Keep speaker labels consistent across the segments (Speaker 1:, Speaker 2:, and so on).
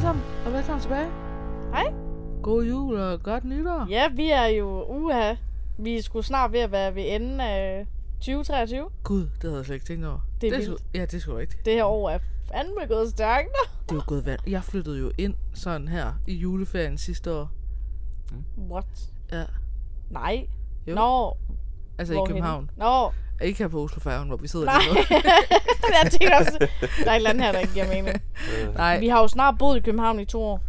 Speaker 1: velkommen tilbage.
Speaker 2: Hej.
Speaker 1: God jul og godt nytår.
Speaker 2: Ja, vi er jo uha. Vi skulle snart ved at være ved enden af 2023.
Speaker 1: Gud, det havde jeg slet ikke tænkt over.
Speaker 2: Det er
Speaker 1: det
Speaker 2: vildt.
Speaker 1: sgu- Ja, det er sgu rigtigt.
Speaker 2: Det her år er fandme gået stærkt.
Speaker 1: Det er jo gået vand. Jeg flyttede jo ind sådan her i juleferien sidste år.
Speaker 2: What?
Speaker 1: Ja.
Speaker 2: Nej.
Speaker 1: Jo.
Speaker 2: Nå,
Speaker 1: Altså i
Speaker 2: hvorhenne?
Speaker 1: København.
Speaker 2: Nå,
Speaker 1: Ikke her på Oslo Færgen, hvor vi sidder
Speaker 2: nej.
Speaker 1: lige nu.
Speaker 2: jeg tænker også, der er et eller andet her, der ikke giver mening.
Speaker 1: Nej.
Speaker 2: Vi har jo snart boet i København i to år.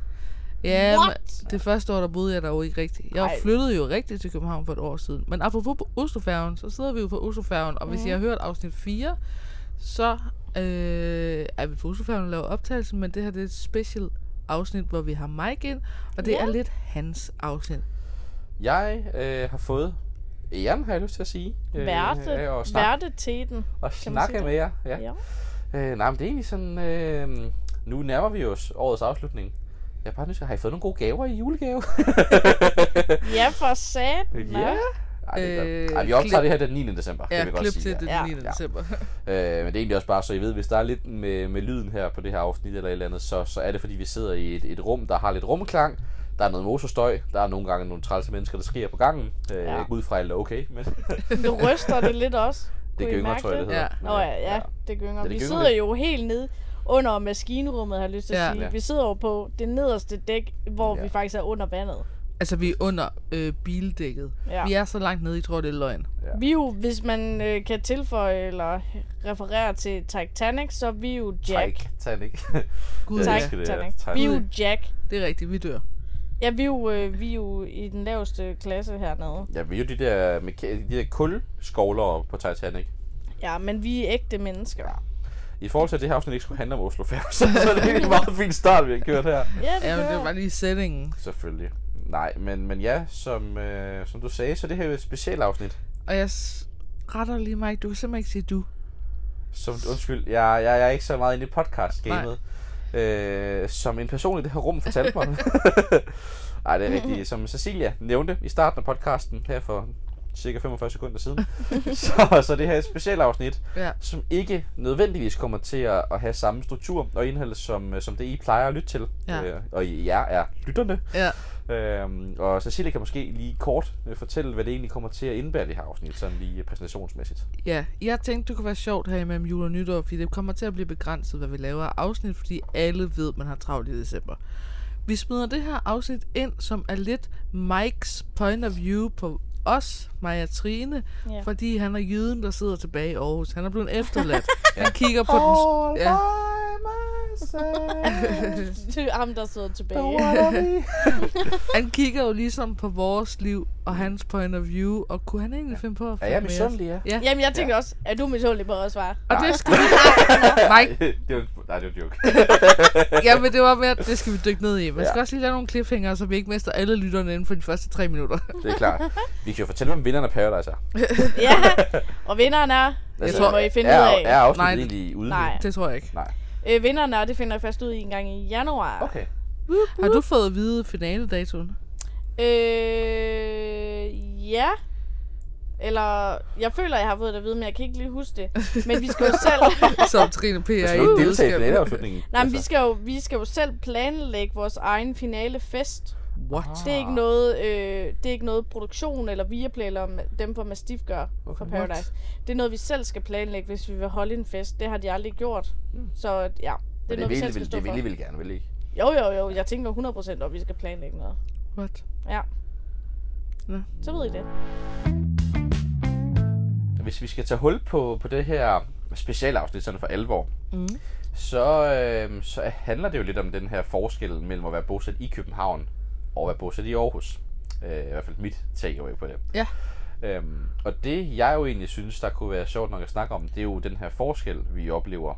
Speaker 1: Ja, men
Speaker 2: What?
Speaker 1: det første år, der boede jeg der jo ikke rigtigt. Jeg
Speaker 2: Ej.
Speaker 1: flyttede jo rigtigt til København for et år siden. Men apropos på Oslofærgen, så sidder vi jo på Oslofærgen, og hvis I har hørt afsnit 4, så øh, er vi på Oslofærgen og laver optagelse, men det her det er et special afsnit, hvor vi har Mike ind, og det
Speaker 2: Ja.
Speaker 1: er lidt hans afsnit.
Speaker 3: Jeg øh, har fået æren, har jeg lyst til at sige. Øh,
Speaker 2: Værte,
Speaker 3: af at snak,
Speaker 2: værteteten.
Speaker 3: og
Speaker 2: sige
Speaker 3: snakke
Speaker 2: det?
Speaker 3: med jer. Ja.
Speaker 2: Ja.
Speaker 3: Øh, nej, men det er egentlig sådan... Øh, nu nærmer vi os årets afslutning. Jeg er bare nysgerrig, har I fået nogle gode gaver i julegave?
Speaker 2: ja, for sat.
Speaker 3: ja. Ej, det er
Speaker 1: Øh,
Speaker 3: godt. Ej, vi
Speaker 1: klip-
Speaker 3: optager det her den 9. december,
Speaker 1: Ja,
Speaker 3: kan vi godt
Speaker 1: klip
Speaker 3: sige.
Speaker 1: til det
Speaker 2: Ja.
Speaker 1: den 9.
Speaker 3: Ja.
Speaker 1: december.
Speaker 3: Øh, men det er egentlig også bare, så I ved, hvis der er lidt med, med lyden her på det her afsnit eller et eller andet, så, så er det fordi, vi sidder i et, et rum, der har lidt rumklang. Der er noget motorstøj. Der er nogle gange nogle trælse mennesker, der skriger på gangen. Øh,
Speaker 2: Ja.
Speaker 3: ja. Ud fra alt er okay, men
Speaker 2: Du ryster det lidt også.
Speaker 3: det
Speaker 2: Kunne I
Speaker 3: gynger,
Speaker 2: mærke
Speaker 3: tror jeg, det
Speaker 2: det?
Speaker 3: hedder.
Speaker 1: Ja.
Speaker 3: Men,
Speaker 2: Nå
Speaker 3: øh,
Speaker 2: ja, ja, det gynger.
Speaker 3: det
Speaker 2: vi
Speaker 3: gynger
Speaker 2: sidder
Speaker 3: lidt.
Speaker 2: jo helt nede under maskinrummet, har jeg lyst til at
Speaker 1: Ja.
Speaker 2: sige.
Speaker 3: Ja.
Speaker 2: Vi sidder jo på det nederste dæk, hvor
Speaker 3: Ja.
Speaker 2: vi faktisk er under vandet.
Speaker 1: Altså, vi er under øh, bildækket.
Speaker 2: Ja.
Speaker 1: Vi er så langt nede, I tror, det er løgn.
Speaker 3: Ja.
Speaker 2: Vi er jo, hvis man øh, kan tilføje eller referere til Titanic, så er vi jo Jack.
Speaker 3: Titanic.
Speaker 1: Gud,
Speaker 3: Ja,
Speaker 1: ja,
Speaker 3: ja.
Speaker 2: Titanic.
Speaker 3: elsker det,
Speaker 2: Titanic.
Speaker 3: Titanic.
Speaker 2: Vi er jo Jack.
Speaker 1: det er rigtigt, vi dør.
Speaker 2: Ja, vi er jo, øh, vi er jo i den laveste klasse hernede.
Speaker 3: ja, vi er jo de der, meka- de der kulskovlere på Titanic.
Speaker 2: Ja, men vi er ægte mennesker.
Speaker 3: I forhold til, at det her afsnit ikke skulle handle om Oslo Færge, så, så er det egentlig en meget fin start, vi har kørt her.
Speaker 2: Ja, det,
Speaker 1: Ja, men det
Speaker 2: gør
Speaker 1: var
Speaker 2: vi.
Speaker 1: bare lige sætningen.
Speaker 3: Selvfølgelig. Nej, men, men ja, som, øh, som du sagde, så er det her jo et specielt afsnit.
Speaker 1: Og jeg s- retter lige, Mike, du kan simpelthen ikke sige du.
Speaker 3: Som, undskyld, jeg, jeg, jeg er ikke så meget inde i podcast-gamet. Øh, som en person i det her rum fortalte mig. Nej, det er rigtigt. Som Cecilia nævnte i starten af podcasten her for cirka 45 sekunder siden. så, så det her er et specielt afsnit.
Speaker 1: Ja.
Speaker 3: som ikke nødvendigvis kommer til at, at have samme struktur og indhold, som, øh, som det I plejer at lytte til.
Speaker 1: Ja.
Speaker 3: Øh, og I jer er lytterne.
Speaker 1: Ja.
Speaker 3: Øhm, og Cecilia kan måske lige kort øh, fortælle, hvad det egentlig kommer til at indebære det her afsnit, sådan lige øh, præsentationsmæssigt.
Speaker 1: Ja, jeg tænkte, det kunne være sjovt her imellem jul og nytår, fordi det kommer til at blive begrænset, hvad vi laver af afsnit, fordi alle ved, man har travlt i december. Vi smider det her afsnit ind, som er lidt Mikes point of view på os, Maja Trine,
Speaker 2: Ja.
Speaker 1: ja. fordi han er jyden, der sidder tilbage i Aarhus. Han er blevet efterladt. ja. Han kigger på den...
Speaker 3: All
Speaker 1: ja.
Speaker 3: by myself,
Speaker 2: Det er ham, der sidder
Speaker 3: the
Speaker 2: tilbage.
Speaker 3: one and
Speaker 1: Han kigger jo ligesom på vores liv og hans point of view, og kunne han egentlig finde på at
Speaker 3: Er
Speaker 1: følge
Speaker 3: jeg
Speaker 1: med os?
Speaker 3: misundelig, ja?
Speaker 1: Ja,
Speaker 2: Jamen, jeg tænker også, er du misundelig på at svare?
Speaker 1: og det skal vi... Mike,
Speaker 3: det var, nej, det var en joke.
Speaker 1: Ja, men det var mere, det skal vi dykke ned i. Man skal
Speaker 3: Ja.
Speaker 1: også lige lave nogle cliffhanger, så vi ikke mister alle lytterne inden for de første tre minutter.
Speaker 3: Det er klart. Vi kan jo fortælle, hvem vinderne af Paradise er.
Speaker 2: Ja, og vinderen er...
Speaker 3: Altså,
Speaker 1: tror-
Speaker 2: må I finde
Speaker 3: er,
Speaker 2: ud af.
Speaker 3: Er afsnittet
Speaker 1: Nej.
Speaker 3: egentlig ude? nu?
Speaker 2: Nej.
Speaker 1: Det tror jeg ikke.
Speaker 3: Nej.
Speaker 2: Øh, vinderen er, det finder jeg først ud i en gang i januar.
Speaker 3: Okay.
Speaker 1: Har du fået at vide finaledatoen?
Speaker 2: Øh, ja. Eller, jeg føler, jeg har fået det at vide, men jeg kan ikke lige huske det. Men vi skal jo selv,
Speaker 1: Som Trine P.
Speaker 3: Jeg
Speaker 1: er
Speaker 3: skal
Speaker 1: i
Speaker 3: Altså, ikke deltage i
Speaker 1: nødskab.
Speaker 3: finaleafslutningen. Altså,
Speaker 2: nej, men vi skal, jo, vi skal jo selv planlægge vores egen finalefest.
Speaker 1: What?
Speaker 2: Det er ikke noget, øh, det er ikke noget produktion eller Viaplay eller ma- dem på Mastiff gør okay, for
Speaker 3: Okay.
Speaker 2: Paradise. Det er noget, vi selv skal planlægge, hvis vi vil holde en fest. Det har de aldrig gjort. Så ja, Hmm. det er
Speaker 3: Men
Speaker 2: noget, vi selv
Speaker 3: det,
Speaker 2: skal
Speaker 3: vil,
Speaker 2: stå
Speaker 3: det vil I
Speaker 2: for.
Speaker 3: vil gerne, vil I? ikke?
Speaker 2: Jo, jo, jo. Jeg tænker 100% om, vi skal planlægge noget.
Speaker 1: What?
Speaker 2: Ja.
Speaker 1: Nå.
Speaker 2: Så ved I det.
Speaker 3: Altså, Hvis vi skal tage hul på, på det her specialafsnit sådan for alvor,
Speaker 1: Mm.
Speaker 3: så, øh, så handler det jo lidt om den her forskel mellem at være bosat i København og at være bosat i Aarhus. Øh, I hvert fald mit takeaway på det.
Speaker 1: Ja.
Speaker 3: Øhm, og det jeg jo egentlig synes, der kunne være sjovt nok at snakke om, det er jo den her forskel, vi oplever,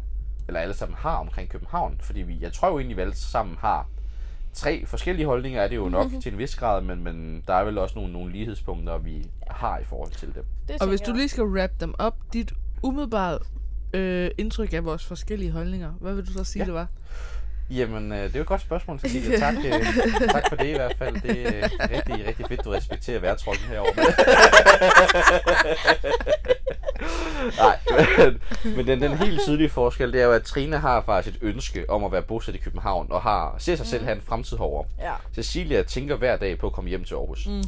Speaker 3: eller alle sammen har omkring København. Fordi vi, jeg tror jo egentlig, vi alle sammen har tre forskellige holdninger, er det jo nok til en vis grad, men, men der er vel også nogle, nogle lighedspunkter, vi har i forhold til det.
Speaker 2: det
Speaker 1: Og hvis du
Speaker 2: tænker jeg.
Speaker 1: lige skal wrap dem op, dit umiddelbare øh, indtryk af vores forskellige holdninger, hvad vil du så sige, ja. det var?
Speaker 3: Jamen, øh, det er jo et godt spørgsmål, Cecilia. Tak, øh, tak for det i hvert fald. Det er øh, rigtig, rigtig fedt, du respekterer værtrollen herovre. Nej, men, men den, den helt tydelige forskel, det er jo, at Trine har faktisk et ønske om at være bosat i København, og har, ser sig selv have en fremtid herovre.
Speaker 2: Ja.
Speaker 3: Cecilia tænker hver dag på at komme hjem til Aarhus. Mm.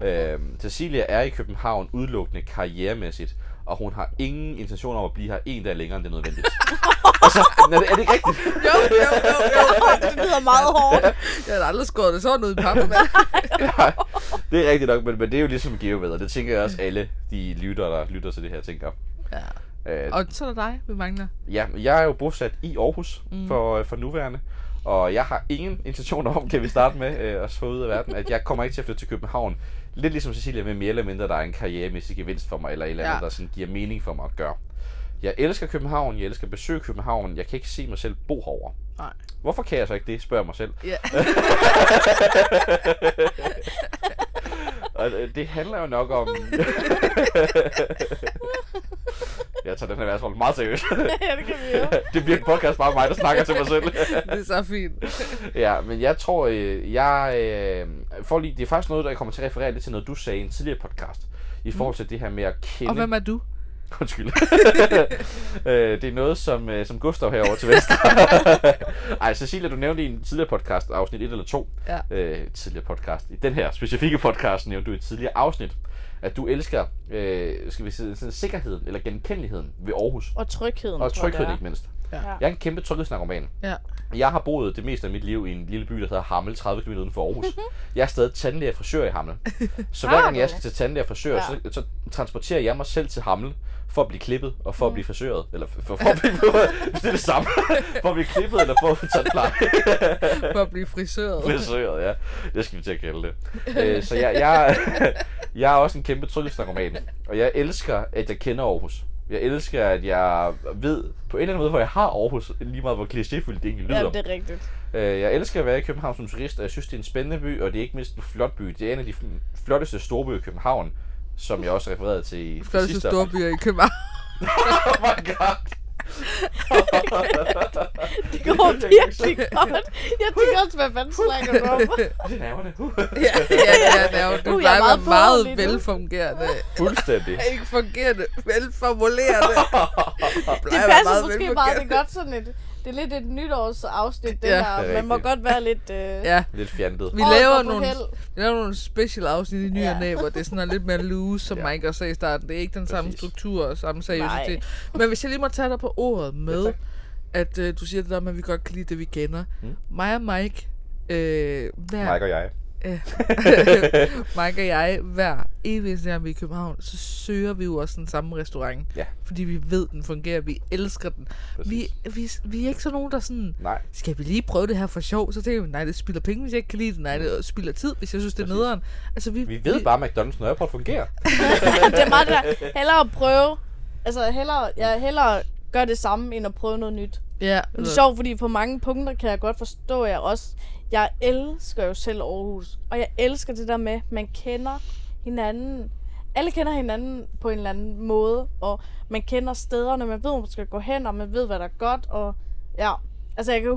Speaker 2: ja.
Speaker 3: Øhm, Cecilia er i København udelukkende karrieremæssigt, og hun har ingen intention om at blive her en dag længere end det er nødvendigt. altså, er det, er det ikke rigtigt?
Speaker 1: Jo, jo, jo, jo.
Speaker 2: Det lyder meget hårdt.
Speaker 1: Jeg har aldrig skåret det sådan ud i pap, mand.
Speaker 3: Nej, det er rigtigt nok, men, men det er jo ligesom givet, og det tænker jeg også alle de lytter, der lytter til det her, tænker.
Speaker 1: Ja.
Speaker 3: Øh,
Speaker 1: Og så er der dig, vi mangler.
Speaker 3: Ja, jeg er jo bosat i Aarhus mm. for, for nuværende, og jeg har ingen intentioner om, kan vi starte med øh, at få ud af verden, at jeg kommer ikke til at flytte til København. Lidt ligesom Cecilia, men mere eller mindre, der er en karrieremæssig gevinst for mig, eller et eller andet,
Speaker 1: Ja.
Speaker 3: ja. der sådan giver mening for mig at gøre. Jeg elsker København, jeg elsker at besøge København, jeg kan ikke se mig selv bo herovre.
Speaker 1: Nej.
Speaker 3: Hvorfor kan jeg så ikke det, spørger jeg mig selv.
Speaker 1: Ja.
Speaker 3: Og øh, det handler jo nok om... jeg tager den her værtshold meget seriøst.
Speaker 2: ja, det kan vi jo.
Speaker 3: det bliver en podcast bare mig, der snakker til mig selv.
Speaker 1: Det er så fint.
Speaker 3: Ja, men jeg tror, øh, jeg øh, får lige, det er faktisk noget, der jeg kommer til at referere lidt til noget, du sagde i en tidligere podcast, i forhold til det her med at kende...
Speaker 1: Og hvem er du?
Speaker 3: Undskyld. øh, det er noget, som, øh, som Gustav herovre til venstre. Ej, Cecilia, du nævnte i en tidligere podcast, afsnit 1 eller 2,
Speaker 1: Ja.
Speaker 3: øh, tidligere podcast, i den her specifikke podcast, nævnte du i et tidligere afsnit, at du elsker, øh, skal vi sige, sådan sikkerheden eller genkendeligheden ved Aarhus.
Speaker 2: Og trygheden,
Speaker 3: Og
Speaker 2: tror jeg, det
Speaker 3: trygheden
Speaker 2: er.
Speaker 3: ikke mindst.
Speaker 2: Ja.
Speaker 3: Jeg er en kæmpe tryghedsnarkoman.
Speaker 1: Ja.
Speaker 3: Jeg har boet det meste af mit liv i en lille by, der hedder Hammel, 30 km uden for Aarhus. Jeg er stadig tandlæge og frisør i Hammel. Så hver
Speaker 2: Har
Speaker 3: gang
Speaker 2: du?
Speaker 3: jeg skal til tandlæge og frisør, ja. så, så transporterer jeg mig selv til Hammel for at blive klippet og for at blive frisøret. Eller for, for, for at blive... det er det samme. For at blive klippet eller for at få tandpleje.
Speaker 1: For at blive frisøret.
Speaker 3: Frisøret, ja. Det skal vi til at kalde det. Øh, så jeg, jeg, jeg er også en kæmpe tryghedsnarkoman. Og jeg elsker, at jeg kender Aarhus. Jeg elsker, at jeg ved på en eller anden måde, hvor jeg har Aarhus, lige meget hvor klichéfyldt det egentlig lyder.
Speaker 2: Ja, det er rigtigt.
Speaker 3: Øh, Jeg elsker at være i København som turist, og jeg synes, det er en spændende by, og det er ikke mindst en flot by. Det er en af de f- flotteste storbyer i København, som jeg også refererede til i det
Speaker 1: Flotteste
Speaker 3: sidste
Speaker 1: storbyer i København.
Speaker 3: Oh my god!
Speaker 2: Det går virkelig godt. Jeg tænker også, hvad fanden snakker du om?
Speaker 3: Det er nerverne. Uh.
Speaker 1: ja, ja, ja, det er jo, du
Speaker 2: Uh, jeg er
Speaker 1: plejer at være
Speaker 2: meget
Speaker 1: meget
Speaker 2: pålidelig nu.
Speaker 1: velfungerende.
Speaker 3: Fuldstændig.
Speaker 1: Ikke fungerende, velformulerende.
Speaker 2: Det passer måske meget, det er godt sådan et... Det er lidt et nytårsafsnit, det
Speaker 1: Ja.
Speaker 2: her.
Speaker 3: Det er
Speaker 2: Man må
Speaker 3: rigtigt.
Speaker 2: godt være lidt... Øh,
Speaker 1: Ja,
Speaker 3: Lidt fjantet.
Speaker 1: vi
Speaker 2: året
Speaker 1: laver,
Speaker 2: går på
Speaker 1: nogle,
Speaker 2: held.
Speaker 1: vi laver nogle special afsnit i ny og
Speaker 2: Ja.
Speaker 1: næ, hvor det er sådan er lidt mere loose, som
Speaker 3: Ja.
Speaker 1: Mike også sagde i starten. Det er ikke den samme
Speaker 3: Præcis.
Speaker 1: struktur og samme seriøsitet.
Speaker 2: Nej.
Speaker 1: Men hvis jeg lige må tage dig på ordet med, ja,
Speaker 3: Ja, tak.
Speaker 1: at øh, du siger det der med, at vi godt kan lide det, vi kender. Mm.
Speaker 3: Mm.
Speaker 1: Mig og Mike, øh, hver
Speaker 3: Mike og jeg.
Speaker 1: Mike og jeg, hver evig eneste gang vi er i København, så søger vi jo også den samme restaurant.
Speaker 3: Ja.
Speaker 1: Fordi vi ved, den fungerer. Vi elsker den. Vi, vi, vi er ikke sådan nogen, der sådan...
Speaker 3: Nej.
Speaker 1: Skal vi lige prøve det her for sjov? Så tænker vi, nej, det spilder penge, hvis jeg ikke kan lide det. Nej, det spilder tid, hvis jeg synes, det er
Speaker 3: Mm. Præcis.
Speaker 1: nederen. Altså, vi,
Speaker 3: Vi ved bare, at McDonald's og Nørreport fungerer.
Speaker 2: det er meget det der. Hellere at prøve... Altså, hellere, jeg hellere gør det samme, end at prøve noget nyt.
Speaker 1: Ja,
Speaker 2: Men det er sjovt, fordi på mange punkter kan jeg godt forstå jer også. Jeg elsker jo selv Aarhus, og jeg elsker det der med, at man kender hinanden. Alle kender hinanden på en eller anden måde, og man kender stederne, man ved, hvor man skal gå hen, og man ved, hvad der er godt, og ja. Altså, jeg kan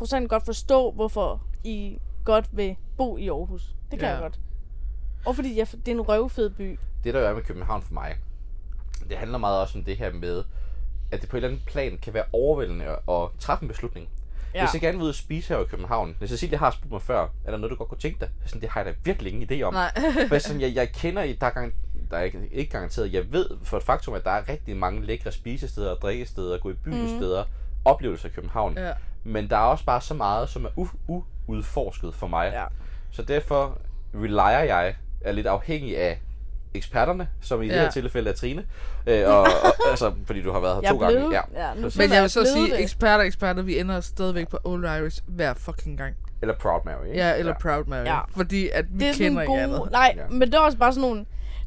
Speaker 2: 100% godt forstå, hvorfor I godt vil bo i Aarhus. Det kan
Speaker 1: Ja.
Speaker 2: jeg godt. Og fordi jeg, det er en røvfed by.
Speaker 3: det der jo er med København for mig, det handler meget også om det her med, at det på et eller andet plan kan være overvældende at, at træffe en beslutning. Ja.
Speaker 2: Ja.
Speaker 3: Hvis jeg gerne vil ud og spise her i København, hvis Cecilia har spurgt mig før, er der noget, du godt kunne tænke dig? Så Sådan, det har jeg da virkelig ingen idé om.
Speaker 1: Nej.
Speaker 3: For sådan, jeg, jeg kender, i- der er, garan- der er ikke, ikke garanteret, jeg ved for et faktum, at der er rigtig mange lækre spisesteder, drikkesteder, gå i
Speaker 2: Mhm.
Speaker 3: byen mm. steder, oplevelser i København.
Speaker 1: Ja.
Speaker 3: Men der er også bare så meget, som er u- uudforsket for mig.
Speaker 2: Ja.
Speaker 3: Så derfor relyer jeg, er lidt afhængig af eksperterne, som i ja. det
Speaker 1: Ja.
Speaker 3: her tilfælde er Trine. Øh, og, og, altså, fordi du har været her
Speaker 2: Jeg
Speaker 3: to
Speaker 2: er blevet,
Speaker 3: gange.
Speaker 2: ja, nu
Speaker 3: Præcis.
Speaker 1: Men
Speaker 2: Sådan er
Speaker 1: jeg vil så
Speaker 2: blevet
Speaker 1: sige,
Speaker 2: det.
Speaker 1: eksperter, eksperter, vi ender stadigvæk på Old Irish hver fucking gang.
Speaker 3: Eller Proud Mary. ikke?
Speaker 1: Ja, eller Proud Mary.
Speaker 2: Ja.
Speaker 1: Fordi at vi
Speaker 2: det er sådan
Speaker 1: kender
Speaker 2: en
Speaker 1: ikke
Speaker 2: god...
Speaker 1: andet.
Speaker 2: Nej,
Speaker 3: Ja.
Speaker 2: ja. men det er også bare sådan nogle...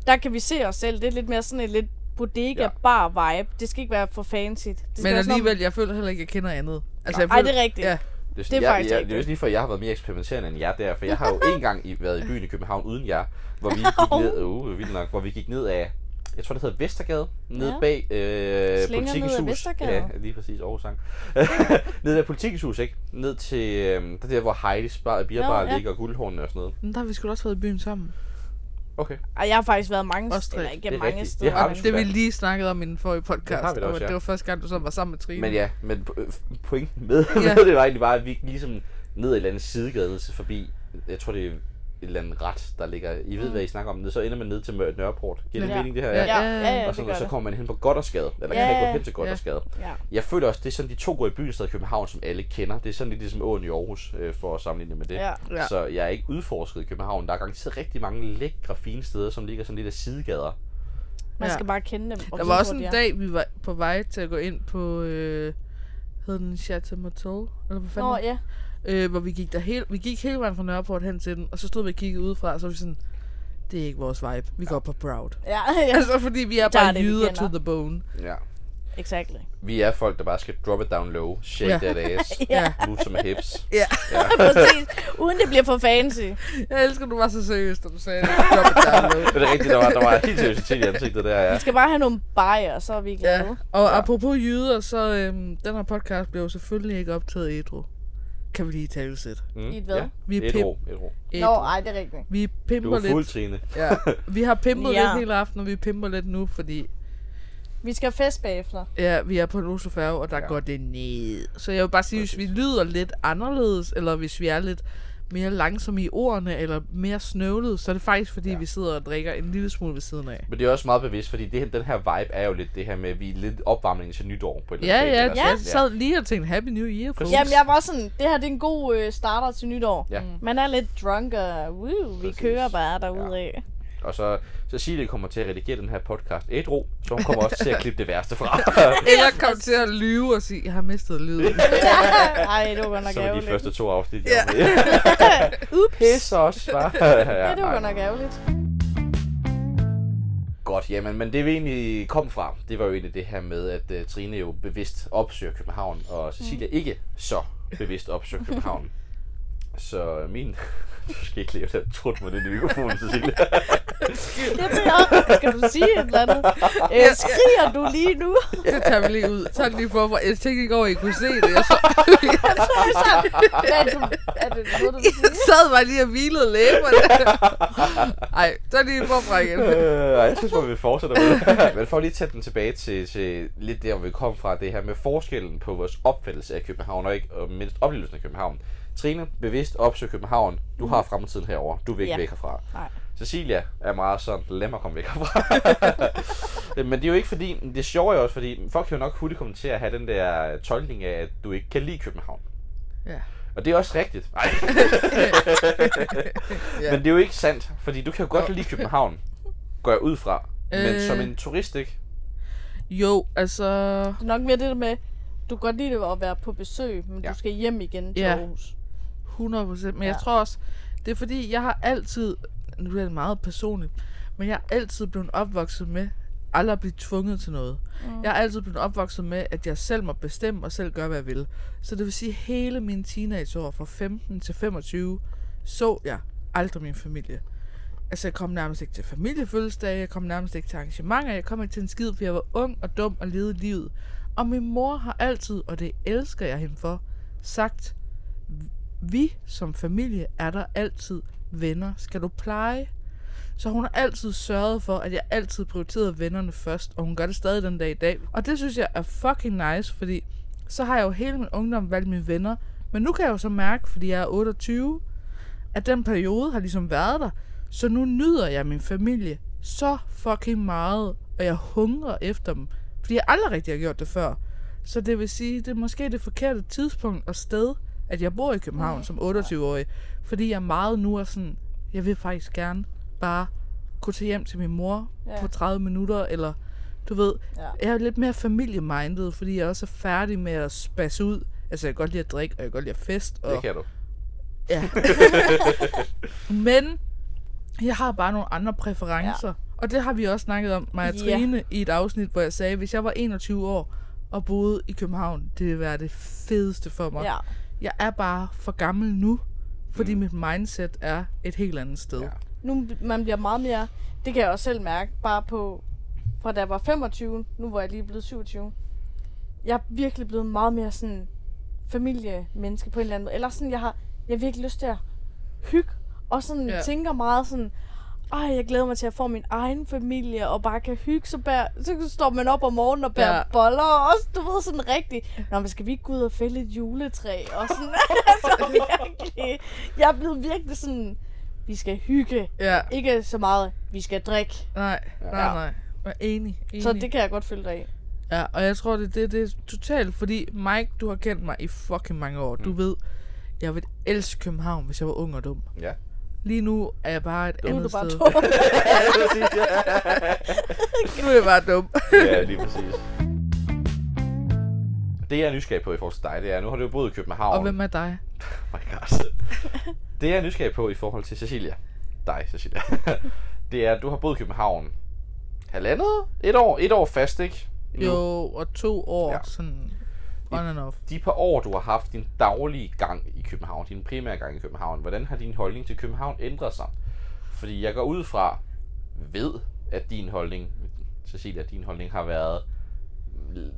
Speaker 2: Der kan vi se os selv. Det er lidt mere sådan en lidt
Speaker 3: Ja.
Speaker 2: bodega-bar-vibe. Det skal ikke være for fancy. Det skal
Speaker 1: Men
Speaker 2: være sådan om-
Speaker 1: alligevel, jeg føler heller ikke, at jeg kender andet. Altså, jeg
Speaker 2: Ej,
Speaker 1: føler,
Speaker 2: det er rigtigt.
Speaker 1: Ja.
Speaker 3: Det, er sådan,
Speaker 2: Det er
Speaker 3: jeg,
Speaker 2: faktisk
Speaker 3: jeg,
Speaker 2: rigtigt.
Speaker 3: det er jo lige for, at jeg har været mere eksperimenterende end jer der, for jeg har jo engang i- været i byen i København uden jer, hvor vi gik ned, uh, vildt nok, hvor vi gik ned af, jeg tror det hedder Vestergade, nede
Speaker 2: Ja.
Speaker 3: bag øh,
Speaker 2: Slinger
Speaker 3: Politikens
Speaker 2: ned ad
Speaker 3: Hus.
Speaker 2: Vestergade.
Speaker 3: Ja, lige præcis, Aarhus sang. nede af Politikens Hus, ikke? Ned til øh, der, der, hvor Heidi's bar, bierbar
Speaker 2: Nå, ja.
Speaker 3: ligger, og guldhårene og sådan noget.
Speaker 1: Men der har vi sgu da også været i byen sammen.
Speaker 3: Okay.
Speaker 2: Ej, jeg har faktisk været mange
Speaker 1: Også
Speaker 2: steder,
Speaker 1: tre.
Speaker 2: ikke
Speaker 3: Det er
Speaker 2: mange
Speaker 3: rigtigt.
Speaker 2: steder.
Speaker 3: Det har
Speaker 1: Og
Speaker 3: vi sgu
Speaker 1: det
Speaker 3: da.
Speaker 1: vi lige snakkede om i den forrige podcast.
Speaker 3: Det har vi da
Speaker 1: og
Speaker 3: også, ja.
Speaker 1: det var første gang, du så var sammen med Trine.
Speaker 3: Men ja, men po- øh, f- pointen med,
Speaker 1: Ja.
Speaker 3: ja. med det var egentlig bare, at vi gik ligesom ned i et eller andet sidegade så forbi, jeg tror det er et eller andet ret, der ligger, I ved hvad I snakker om, ned, så ender man ned til Mør- Nørreport. Giver det
Speaker 2: Mm. Ja.
Speaker 3: mening det her?
Speaker 1: Ja,
Speaker 2: Ja, ja, ja,
Speaker 3: og
Speaker 2: det
Speaker 3: sådan,
Speaker 2: gør
Speaker 3: og så
Speaker 2: det.
Speaker 3: kommer man hen på Goddersgade, eller
Speaker 2: Ja.
Speaker 3: kan ikke gå hen til Goddersgade.
Speaker 2: Ja.
Speaker 3: Jeg føler også, det er sådan de to går i byen i stedet København, som alle kender. Det er sådan lidt ligesom åen i Aarhus, øh, for at sammenligne med det.
Speaker 2: Ja.
Speaker 1: Ja.
Speaker 3: Så jeg er ikke udforsket i København. Der er garanteret rigtig mange lækre, fine steder, som ligger sådan lidt af sidegader.
Speaker 2: Man
Speaker 1: Ja.
Speaker 2: skal bare kende dem.
Speaker 1: Der
Speaker 2: og vide,
Speaker 1: var
Speaker 2: hvor
Speaker 1: også
Speaker 2: de
Speaker 1: en
Speaker 2: er.
Speaker 1: dag, vi var på vej til at gå ind på, øh, hed den Chateau Motel, eller hvad fanden?
Speaker 2: Nå,
Speaker 1: den-
Speaker 2: ja.
Speaker 1: øh, hvor vi gik, der hele, vi gik hele vejen fra Nørreport hen til den, og så stod vi og kiggede udefra, og så var vi sådan, det er ikke vores vibe, vi går på Proud.
Speaker 2: Ja, ja.
Speaker 1: Altså, fordi vi er
Speaker 2: Der er
Speaker 1: bare
Speaker 2: det, vi
Speaker 1: jyder to
Speaker 2: kender.
Speaker 1: the bone.
Speaker 3: Ja.
Speaker 2: Exactly.
Speaker 3: Vi er folk, der bare skal drop it down low, shake
Speaker 1: Ja.
Speaker 3: ja. that ass,
Speaker 1: Ja.
Speaker 3: ja. move som hips.
Speaker 1: Ja.
Speaker 2: Præcis. Uden det bliver for fancy.
Speaker 1: Jeg elsker, du var så seriøs, da du sagde det. Drop it down low.
Speaker 3: Men det er rigtigt, der var, der var helt seriøsitet i ansigtet der, ja.
Speaker 2: Vi skal bare have nogle bajer, så er vi glade.
Speaker 1: Ja, og ja.
Speaker 3: Ja.
Speaker 1: apropos jyder, så øhm, den her podcast blev jo selvfølgelig ikke optaget ædru. Kan vi lige tale os lidt?
Speaker 3: Mm.
Speaker 2: I et hvad?
Speaker 3: Ja.
Speaker 1: Vi er
Speaker 3: Et
Speaker 1: pimp.
Speaker 3: ro, et ro.
Speaker 2: Nå,
Speaker 1: ædru.
Speaker 2: ej, det er rigtigt.
Speaker 1: Vi
Speaker 3: Du
Speaker 1: pimper
Speaker 3: er fuld,
Speaker 1: lidt.
Speaker 3: Trine.
Speaker 1: Ja. Vi har pimpet
Speaker 2: Ja.
Speaker 1: ja. lidt hele aftenen, og vi pimper lidt nu, fordi
Speaker 2: Vi skal have fest bagefter.
Speaker 1: Ja, vi er på en Oslofærge, og der ja.
Speaker 3: Ja.
Speaker 1: går det ned. Så jeg vil bare sige, hvis vi
Speaker 3: Præcis.
Speaker 1: lyder lidt anderledes, eller hvis vi er lidt mere langsomme i ordene, eller mere snøvlede, så er det faktisk, fordi ja. vi sidder og drikker en lille smule ved siden af.
Speaker 3: Men det er også meget bevidst, fordi det, her- den her vibe er jo lidt det her med, at vi er lidt opvarmningen til nytår på et eller
Speaker 1: Ja,
Speaker 3: andet plan,
Speaker 1: ja,
Speaker 3: eller
Speaker 1: ja.
Speaker 3: sådan,
Speaker 1: Jeg sad lige og tænkte, Happy New Year, folks.
Speaker 3: Præcis.
Speaker 2: Jamen, jeg var sådan, det her det er en god øh, starter til nytår.
Speaker 3: Ja.
Speaker 2: Man er lidt drunk, og woo, vi
Speaker 3: Præcis.
Speaker 2: kører bare derude af.
Speaker 3: Og så, så Cecilie kommer til at redigere den her podcast ædru, så hun kommer også til at klippe det værste fra.
Speaker 1: Eller kom til at lyve og sige, jeg har mistet lyden.
Speaker 2: Ej, det var godt nok
Speaker 3: så er de
Speaker 2: ærgerligt.
Speaker 3: første to afsnit, jeg var med.
Speaker 2: Ups.
Speaker 3: Pis også, hva'? ja,
Speaker 2: Ja, det var
Speaker 3: ej,
Speaker 2: godt nok ærgerligt.
Speaker 3: Godt, jamen, men det vi egentlig kom fra, det var jo egentlig det her med, at uh, Trine jo bevidst opsøger København, og Cecilia mm. ikke så bevidst opsøger København. Så øh, min... Du skal ikke leve der trådt med den i mikrofonen, Cecilia.
Speaker 2: Det bliver op. Skal du sige et eller andet? Øh, skriger du lige nu?
Speaker 1: det tager vi lige ud. Tag det lige forfra. Jeg tænkte ikke over, at I kunne se det. Jeg, så,
Speaker 2: Så er jeg sådan, hvad er, du, er det noget, du vil sige?
Speaker 1: jeg sad bare lige og hvilede læberne. Ej, så lige forfra igen.
Speaker 3: Øh, ej, jeg synes, man vil fortsætte med det. Men for lige at tage den tilbage til, til lidt der, hvor vi kom fra, det her med forskellen på vores opfattelse af København, og ikke og mindst oplevelsen af København. Trine, bevidst opsøg København. Du har fremtiden herover. Du vil ikke
Speaker 2: Mm. Ja.
Speaker 3: ja. væk herfra.
Speaker 2: Nej.
Speaker 3: Cecilia er meget sådan, lad mig komme væk herfra. Men det er jo ikke fordi, det sjove er jo også fordi, folk kan jo nok hurtigt komme til at have den der tolkning af, at du ikke kan lide København.
Speaker 1: Ja.
Speaker 3: Og det er også rigtigt. Nej.
Speaker 1: Ja.
Speaker 3: Men det er jo ikke sandt, fordi du kan jo godt lide København, går jeg ud fra. Men
Speaker 1: Øh.
Speaker 3: som en turist, ikke?
Speaker 1: Jo, altså...
Speaker 2: Det er nok mere det der med, du kan godt lide det at være på besøg, men ja.
Speaker 3: Ja.
Speaker 2: du skal hjem igen til
Speaker 1: Ja.
Speaker 2: ja. Aarhus.
Speaker 1: 100 procent. Men ja. jeg
Speaker 2: Ja.
Speaker 1: tror også, det er fordi, jeg har altid, nu bliver det meget personligt, men jeg er altid blevet opvokset med aldrig at blive tvunget til noget. Mm. Jeg er altid blevet opvokset med, at jeg selv må bestemme og selv gøre, hvad jeg vil. Så det vil sige, hele mine teenageår fra 15 til 25, så jeg aldrig min familie. Altså, jeg kom nærmest ikke til familiefødselsdage, jeg kom nærmest ikke til arrangementer, jeg kom ikke til en skid, for jeg var ung og dum og levede livet. Og min mor har altid, og det elsker jeg hende for, sagt, vi som familie er der altid venner. Skal du pleje? Så hun har altid sørget for, at jeg altid prioriterede vennerne først, og hun gør det stadig den dag i dag. Og det synes jeg er fucking nice, fordi så har jeg jo hele min ungdom valgt mine venner. Men nu kan jeg jo så mærke, fordi jeg er 28, at den periode har ligesom været der. Så nu nyder jeg min familie så fucking meget, og jeg hungrer efter dem. Fordi jeg aldrig rigtig har gjort det før. Så det vil sige, det er måske det forkerte tidspunkt og sted, at jeg bor i København som 28-årig. Fordi jeg meget nu er sådan, jeg vil faktisk gerne bare kunne tage hjem til min mor ja.
Speaker 2: Ja.
Speaker 1: på 30 minutter, eller du ved,
Speaker 2: Ja.
Speaker 1: jeg er lidt mere familiemindet, fordi jeg også er færdig med at spasse ud. Altså, jeg kan godt lide at drikke, og jeg kan godt lide at fest. Og...
Speaker 3: Det kan du.
Speaker 1: Ja. Men jeg har bare nogle andre præferencer. Ja. Og det har vi også snakket om, mig og
Speaker 2: Ja.
Speaker 1: Trine, i et afsnit, hvor jeg sagde, at hvis jeg var 21 år og boede i København, det ville være det fedeste for mig.
Speaker 2: ja.
Speaker 1: Jeg er bare for gammel nu, fordi mm. mit mindset er et helt andet sted.
Speaker 3: Ja.
Speaker 2: Nu bl- man bliver meget mere, det kan jeg også selv mærke, bare på, fra da jeg var 25, nu hvor jeg lige er blevet 27. Jeg er virkelig blevet meget mere sådan familiemenneske på en eller anden måde. Eller sådan, jeg har, jeg har virkelig lyst til at hygge, og sådan
Speaker 1: Ja.
Speaker 2: ja. tænker meget sådan, Ej, jeg glæder mig til at få min egen familie og bare kan hygge sig bær. Så står man op om morgenen og bærer
Speaker 1: Ja.
Speaker 2: ja. boller og også, du ved, sådan rigtigt. Nå, men skal vi ikke gå ud og fælde et juletræ? Og sådan, altså virkelig. Jeg er blevet virkelig sådan, vi skal hygge.
Speaker 1: Ja,
Speaker 2: Ikke så meget, vi skal drikke.
Speaker 1: nej, nej,
Speaker 3: Ja.
Speaker 1: nej. Jeg er enig, enig.
Speaker 2: Så det kan jeg godt følge dig i.
Speaker 1: Ja, og jeg tror, det, det, det er totalt, fordi Mike, du har kendt mig i fucking mange år.
Speaker 3: Mm.
Speaker 1: Du ved, jeg ville elske København, hvis jeg var ung og dum.
Speaker 3: Ja.
Speaker 1: Lige nu er jeg bare et
Speaker 2: Nu er
Speaker 1: andet
Speaker 2: du bare
Speaker 1: sted.
Speaker 2: to.
Speaker 1: Nu er jeg bare dum.
Speaker 3: ja, lige præcis. Det jeg er nysgerrig på i forhold til dig, det er, nu har du jo boet i København.
Speaker 1: Og hvem er dig?
Speaker 3: Oh my god. Det jeg er nysgerrig på i forhold til Cecilia, dig Cecilia, det er, at du har boet i København halvandet? Et år? Et år fast, ikke? Nu.
Speaker 1: Jo, og to år, ja.
Speaker 3: Ja.
Speaker 1: sådan on and off.
Speaker 3: De par år, du har haft din daglige gang i København, din primære gang i København, hvordan har din holdning til København ændret sig? Fordi jeg går ud fra, ved, at din holdning, Cecilia, din holdning har været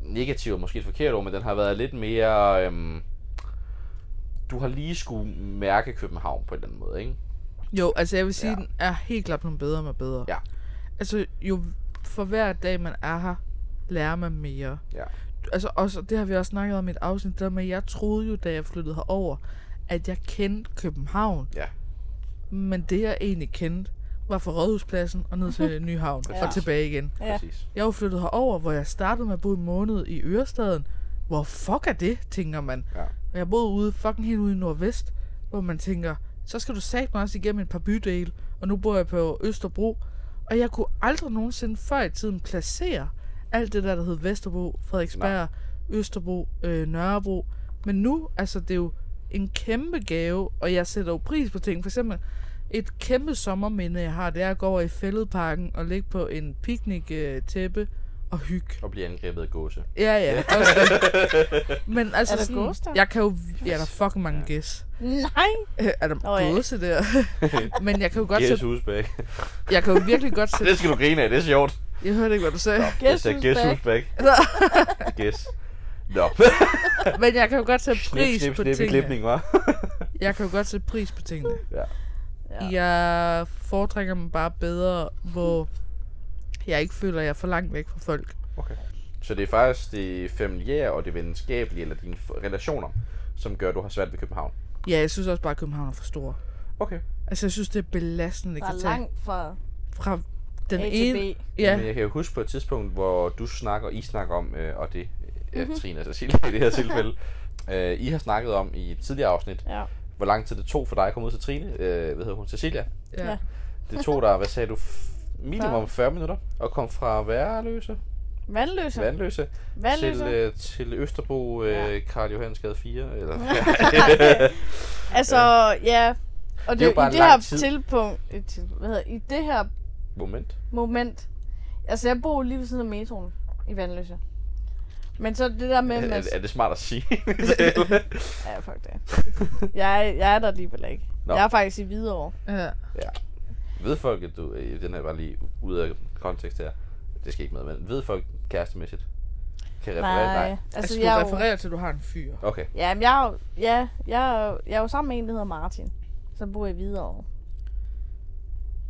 Speaker 3: negativ, er måske et forkert ord, men den har været lidt mere... Øhm, du har lige skulle mærke København på en eller anden måde, ikke?
Speaker 1: Jo, altså jeg vil sige, ja.
Speaker 3: Ja.
Speaker 1: den er helt klart blevet bedre med bedre.
Speaker 3: Ja.
Speaker 1: Altså jo for hver dag, man er her, lærer man mere.
Speaker 3: Ja.
Speaker 1: Altså også, og det har vi også snakket om i et afsnit, det der med, at jeg troede jo, da jeg flyttede herover, at jeg kendte København.
Speaker 3: Ja.
Speaker 1: Men det, jeg egentlig kendte, var fra Rådhuspladsen og ned til Nyhavn ja. og
Speaker 3: Præcis.
Speaker 1: tilbage igen.
Speaker 2: Ja.
Speaker 3: Præcis.
Speaker 1: Jeg er jo flyttet herover, hvor jeg startede med at bo en måned i Ørestaden. Hvor fuck er det, tænker man.
Speaker 3: Ja.
Speaker 1: Og jeg boede ude, fucking helt ude i Nordvest, hvor man tænker, så skal du satme mig også igennem et par bydele, og nu bor jeg på Østerbro. Og jeg kunne aldrig nogensinde før i tiden placere alt det der, der hed Vesterbro, Frederiksberg, Østerbro, øh, Nørrebro. Men nu, altså det er jo en kæmpe gave, og jeg sætter jo pris på ting. For eksempel et kæmpe sommerminde, jeg har, det er at gå over i fældeparken og ligge på en picnic-tæppe og hygge.
Speaker 3: Og blive angrebet af gåse.
Speaker 1: Ja, ja. Også det. Men altså,
Speaker 2: Er der
Speaker 1: sådan,
Speaker 2: gås der?
Speaker 1: jeg kan jo... Ja, der er fucking mange gæs.
Speaker 2: Nej.
Speaker 1: Øh, er der
Speaker 2: Nå, ja.
Speaker 1: gåse der? Men jeg kan jo godt
Speaker 3: Gæs
Speaker 1: sætte,
Speaker 3: husbæk.
Speaker 1: jeg kan jo virkelig godt sætte,
Speaker 3: Det skal du grine af, det er sjovt.
Speaker 1: jeg hørte ikke, hvad du sagde,
Speaker 3: Jeg
Speaker 2: Guess
Speaker 3: sagde
Speaker 2: who's
Speaker 3: gæs
Speaker 2: back?
Speaker 3: husbæk. Gæs. Nå.
Speaker 1: men jeg kan jo godt sætte
Speaker 3: Snip,
Speaker 1: pris
Speaker 3: snip,
Speaker 1: på
Speaker 3: snip i
Speaker 1: tingene.
Speaker 3: klipning, hva'?
Speaker 1: Jeg kan jo godt sætte pris på tingene.
Speaker 3: Ja.
Speaker 1: Ja. Jeg foretrækker dem bare bedre, hvor jeg ikke føler, at jeg er for langt væk fra folk.
Speaker 3: Okay. Så det er faktisk det familiære og det venskabelige, eller dine f- relationer, som gør, at du har svært ved København.
Speaker 1: Ja, jeg synes også bare, at København er for stor.
Speaker 3: Okay.
Speaker 1: Altså, jeg synes, det er belastende,
Speaker 2: Der
Speaker 1: at
Speaker 2: er
Speaker 1: kan tage
Speaker 2: langt fra
Speaker 1: fra den
Speaker 2: A til
Speaker 1: ene...
Speaker 2: B.
Speaker 3: Men
Speaker 1: Ja,
Speaker 3: jeg kan jo huske på et tidspunkt, hvor du snakker, I snakker om, øh, og det er
Speaker 1: Mhm.
Speaker 3: mm-hmm. Trine og Cecilia i det her tilfælde, øh, I har snakket om i et tidligere afsnit,
Speaker 2: Ja.
Speaker 3: hvor lang tid det tog for dig at komme ud til Trine, øh, hvad hedder hun, Cecilia,
Speaker 1: ja.
Speaker 2: Ja.
Speaker 3: Det tog dig, hvad sagde du, f- minimum 40 minutter at komme fra Værløse,
Speaker 2: Vandløse.
Speaker 3: Vandløse,
Speaker 2: Vandløse.
Speaker 3: Til, øh, til Østerbro, øh,
Speaker 2: Ja.
Speaker 3: Karl Johansgade 4. Eller,
Speaker 2: Altså, ja. Og det,
Speaker 3: Det er jo bare
Speaker 2: i
Speaker 3: en
Speaker 2: det
Speaker 3: lang
Speaker 2: her
Speaker 3: tid.
Speaker 2: tilpunkt, øh, til- hvad hedder, i det her
Speaker 3: moment.
Speaker 2: moment, altså jeg bor lige ved siden af metroen i Vandløse. Men altså- så det der med,
Speaker 3: Er, er,
Speaker 2: at...
Speaker 3: er, det smart at sige?
Speaker 2: Ja, fuck det. Jeg, er- jeg er der alligevel ikke.
Speaker 3: Nå.
Speaker 2: Jeg er faktisk i Hvidovre.
Speaker 1: ja.
Speaker 3: ved folk, at du, øh, den her bare lige ud af kontekst her, det skal ikke med, men ved folk kærestemæssigt? Kan referere? Nej.
Speaker 2: Altså,
Speaker 1: Altså,
Speaker 2: altså
Speaker 1: du
Speaker 2: jeg er jo,
Speaker 1: refererer til, at du har en fyr.
Speaker 3: Okay,
Speaker 2: ja, men jeg, er jo, ja, jeg, er jo, jeg er jo sammen med en, der hedder Martin, som bor i Hvidovre.